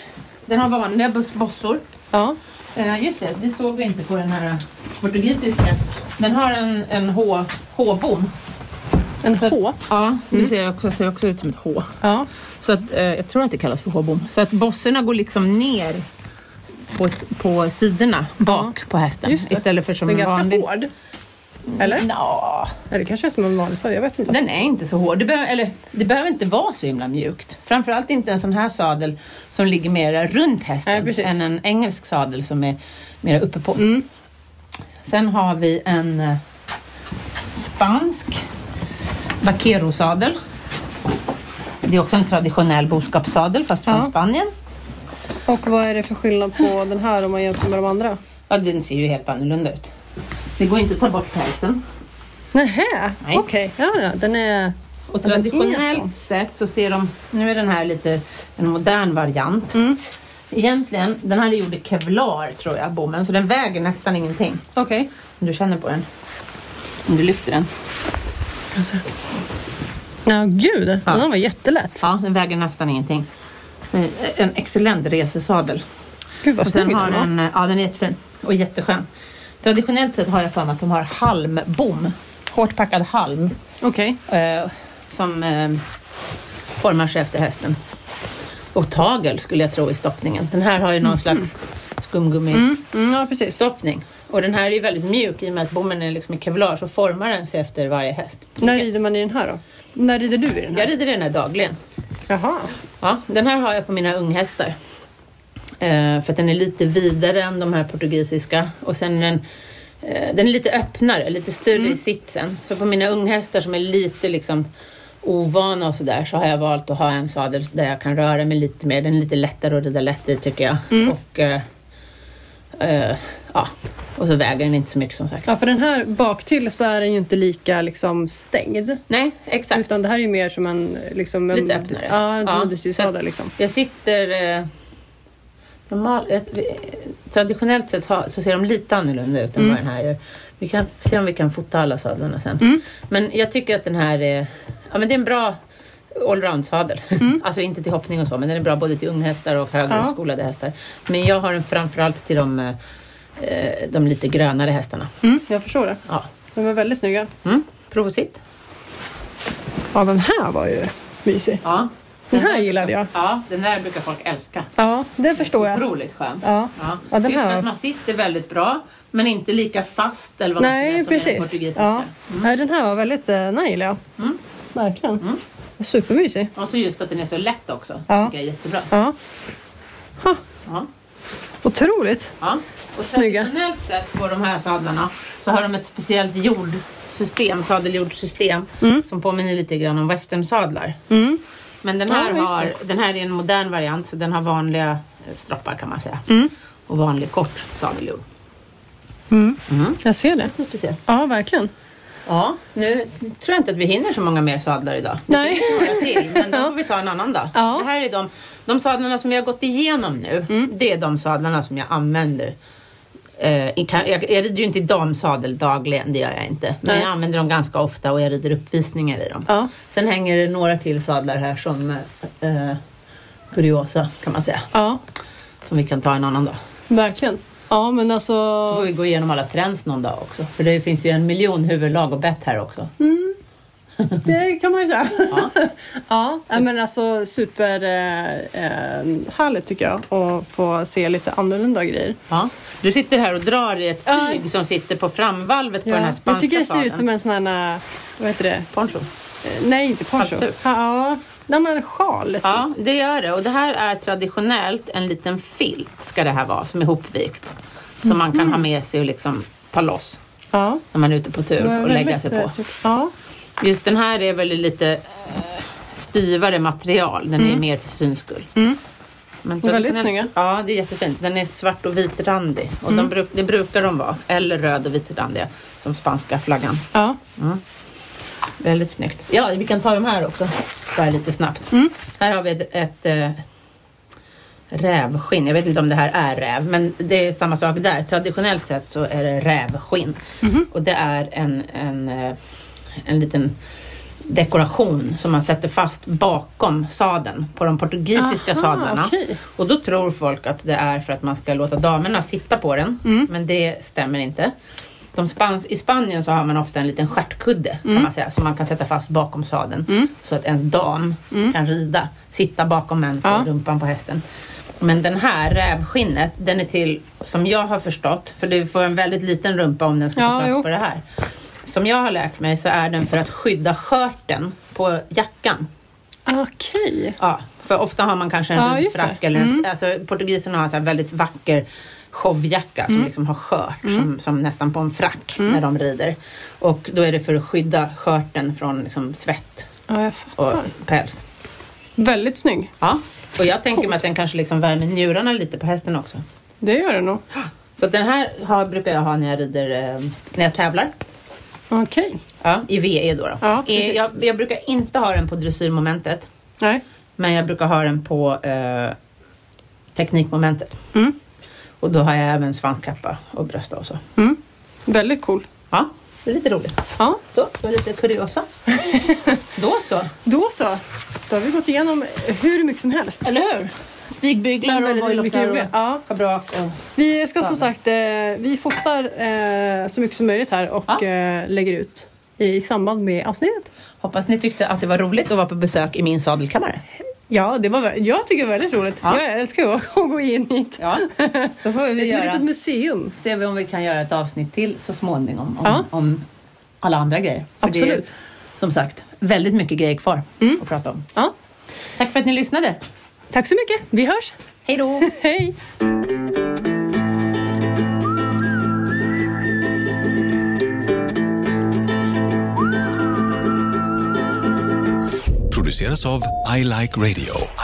B: Den har vanliga bos- bossor.
A: Ja.
B: Eh, just det, det såg vi inte på den här portugisiska. Den har en, en H- H-bom. Mm.
A: En H.
B: Ja, du ser också, ser också ut som ett H.
A: Ja.
B: Så att, eh, jag tror att det kallas för H-bom. Så att bossorna går liksom ner på, s- på sidorna bak på hästen.
A: Just det.
B: Istället för som
A: Den är
B: en
A: ganska
B: vanlig. Mm.
A: hård. Eller?
B: Nå,
A: Eller kanske är som en vanlig sadel, jag vet inte.
B: den är inte så hård. Det, behöver- eller, det behöver inte vara så himla mjukt. Framförallt inte en sån här sadel som ligger mera runt
A: Nej,
B: hästen
A: precis. Mm.
B: än en engelsk sadel som är mera uppe på. Sen har vi en eh, spansk vaquerosadel. Det är också en traditionell boskapssadel fast från
A: Ja.
B: Spanien.
A: Och vad är det för skillnad på den här om man jämför med de andra?
B: Ja, den ser ju helt annorlunda ut. Det går inte att ta bort pälsen.
A: Nähä,
B: Nej.
A: okej. Ja, ja, den är...
B: Och
A: Ja, den är
B: traditionellt
A: sån.
B: sett så ser de, nu är den här lite en modern variant. Egentligen, den här är gjord i kevlar tror jag, bommen, så den väger nästan ingenting.
A: Okej.
B: Om du känner på den. Om du lyfter den.
A: Alltså. Ja, gud.
B: Ja.
A: Den var jättelätt.
B: Ja, den väger nästan ingenting. Så eh, En excellent resesadel.
A: Gud vad
B: Och
A: snygg
B: sen har
A: den var.
B: den, ja den är jättefin och jätteskön. Traditionellt sett har jag för mig att de har halmbom. Hårt packad halm.
A: Okej.
B: eh, som eh, formar sig efter hästen. Och tagel skulle jag tro i stoppningen. Den här har ju någon slags skumgummi-stoppning.
A: Mm, mm, ja, precis.
B: Och den här är ju väldigt mjuk i och med att bommen är liksom i kevlar så formar den sig efter varje häst.
A: När rider man i den här då? När rider du i den här?
B: Jag rider den här dagligen.
A: Jaha.
B: Ja, den här har jag på mina unghästar. Eh, för att den är lite vidare än de här portugisiska. Och sen den, eh, den är lite öppnare, lite större i sitsen. Så på mina unghästar som är lite liksom ovana och sådär så har jag valt att ha en sadel där jag kan röra mig lite mer. Den är lite lättare att rida lätt i tycker jag. Och, eh, eh, ja. och så väger den inte så mycket som sagt.
A: Ja, för den här baktill så är den ju inte lika liksom stängd.
B: Nej, exakt.
A: Utan det här är ju mer som en... Liksom, en
B: Lite öppnare.
A: Ja, en
B: Ja,
A: tunnedyrssadel
B: så-
A: liksom.
B: Jag sitter... Eh, normal, eh, traditionellt sett har, så ser de lite annorlunda ut än vad den här gör. Vi kan se om vi kan fota alla sadlarna sen. Men jag tycker att den här är, ja, men det är en bra allround-sadel. alltså inte till hoppning och så, men den är bra både till unghästar och högreskolade hästar. Men jag har den framförallt till de, eh, eh, de lite grönare hästarna.
A: Mm, jag förstår det.
B: Ja.
A: De var väldigt snygga.
B: Mm. Prosit.
A: Ja, den här var ju mysig.
B: Ja.
A: Den här gillade jag.
B: ja, den där brukar folk älska.
A: Ja, det förstår jag.
B: Otroligt skön.
A: Ja.
B: Ja.
A: Ja, den
B: Just
A: här-
B: för att man sitter väldigt bra men inte lika fast eller vad man säger
A: Nej,
B: som är den
A: precis.
B: portugisiska.
A: Ja. Nej, den här var väldigt... eh, Den här gillade jag.
B: Mm.
A: Verkligen. Supermysig.
B: Och så just att den är så lätt också.
A: Ja.
B: tycker jag är jättebra.
A: Ja,
B: Ja.
A: otroligt.
B: Ja. Och
A: Snygga.
B: traditionellt sett på de här sadlarna så har de ett speciellt jordsystem, sadeljordsystem som påminner lite grann om westernsadlar.
A: Mm.
B: Men den här,
A: Ja, just
B: har, den här är en modern variant så den har vanliga eh, stroppar kan man säga.
A: Mm.
B: Och vanlig kort sadeljord.
A: Jag ser det.
B: Speciellt.
A: Ja, verkligen.
B: Ja, nu tror jag inte att vi hinner så många mer sadlar idag.
A: Nej.
B: några till, men då får vi ta en annan dag.
A: Ja. Mm.
B: Det här är de, de sadlarna som jag har gått igenom nu, det är de sadlarna som jag använder. Eh, i kan- jag, jag rider ju inte i damsadel dagligen, det gör jag inte. Men
A: Nej.
B: jag använder dem ganska ofta och jag rider uppvisningar i dem.
A: Ja.
B: Sen hänger det några till sadlar här som eh, eh, kuriosa kan man säga,
A: Ja,
B: som vi kan ta en annan dag.
A: verkligen. Ja, men alltså...
B: Så får vi gå igenom alla trends någon dag också, för det finns ju en miljon huvudlag och bett här också.
A: Mm. Det kan man ju säga.
B: Ja.
A: Ja, nej, men alltså super eh, eh, härligt tycker jag att få se lite annorlunda grejer.
B: Ja. Du sitter här och drar i ett
A: Ja.
B: tyg som sitter på framvalvet på den här spanska
A: jag tycker det ser ut
B: sadeln.
A: som en sån här, eh, vad heter det,
B: poncho.
A: Eh, nej inte poncho.
B: Halsduk.
A: Ja, nej men sjal. typ.
B: Ja, det gör det. Och det här är traditionellt en liten filt ska det här vara som är hopvikt. Som man
A: Mm.
B: kan ha med sig och liksom ta loss
A: ja.
B: när man är ute på tur och lägga sig på.
A: Väldigt, eh, Ja,
B: Just den här är väl i lite eh, styvare material. Den är mer för syns skull. Men
A: Mm. Väldigt
B: traditionellt-
A: snygga. Mm.
B: Ja, det är jättefint. Den är svart och vitrandig. Och de bruk, det brukar de vara. Eller röd och vitrandiga. Som spanska flaggan.
A: ja.
B: Väldigt snyggt. Ja, vi kan ta de här också. Mm. Bara lite snabbt. Här har vi ett, ett eh, rävskinn. Jag vet inte om det här är räv, men det är samma sak där. Traditionellt sett så är det rävskinn. Och det är en, en, eh, en liten dekoration som man sätter fast bakom sadeln på de portugisiska
A: Aha,
B: sadlarna.
A: Ah, okej.
B: Och då tror folk att det är för att man ska låta damerna sitta på den,
A: Mm.
B: men det stämmer inte. De spans, I Spanien så har man ofta en liten stjärtkudde
A: Mm.
B: kan man säga, som man kan sätta fast bakom sadeln. Så att ens dam kan rida, sitta bakom en på
A: Mm. Ja.
B: rumpan på hästen. Men den här rävskinnet, den är till, som jag har förstått, för du får en väldigt liten rumpa om den ska få
A: Ja,
B: plats
A: jo.
B: på det här. Som jag har lärt mig så är den för att skydda skörten på jackan.
A: Ah, Okej.
B: Ja, för ofta har man kanske en
A: Ja,
B: vit
A: just det. Mm.
B: frack. Eller en, alltså, portugiserna har så här väldigt vacker showjacka
A: Mm.
B: som liksom har skört, som, som nästan på en frack när de rider. Och då är det för att skydda skörten från liksom, svett
A: Ja, jag
B: och
A: fattar.
B: päls.
A: Väldigt snygg.
B: Ja, och jag tänker mig att den kanske liksom värmer njurarna lite på hästen också.
A: Det gör den nog.
B: Så att den här har, brukar jag ha när jag rider, eh, när jag tävlar.
A: Ah, Okej.
B: Ja, I VE då. då.
A: Ja,
B: Eh,
A: precis.
B: jag, jag brukar inte ha den på dressyrmomentet.
A: Nej.
B: Men jag brukar ha den på eh, teknikmomentet.
A: Mm.
B: Och då har jag även svanskappa och brösta och så.
A: Mm. Väldigt cool.
B: Ja, det är lite roligt.
A: Ja,
B: Så, det var lite kuriosa. då så,
A: då så. Då har vi gått igenom hur mycket som helst.
B: eller hur? Stigbyglar och
A: Väldigt mycket
B: vojlockar
A: roliga.
B: och
A: Ja.
B: schabrak och...
A: Vi ska som
B: Fan.
A: sagt, eh, vi fotar eh, så mycket som möjligt här och
B: Ja.
A: eh, lägger ut i samband med avsnittet.
B: Hoppas ni tyckte att det var roligt att vara på besök i min sadelkammare.
A: Ja, det var, vä- jag tycker det var väldigt roligt.
B: Ja.
A: Jag älskar ju att gå in hit.
B: Ja, så får
A: Det är
B: vi
A: som ett litet
B: göra.
A: museum.
B: Ser vi om vi kan göra ett avsnitt till så småningom om,
A: Ja.
B: om alla andra grejer. För det är,
A: Absolut.
B: som sagt, väldigt mycket grejer kvar att prata om.
A: Ja.
B: Tack för att ni lyssnade.
A: Tack så mycket. Vi hörs.
B: Hej då!
A: Hej!
C: produceras av I Like Radio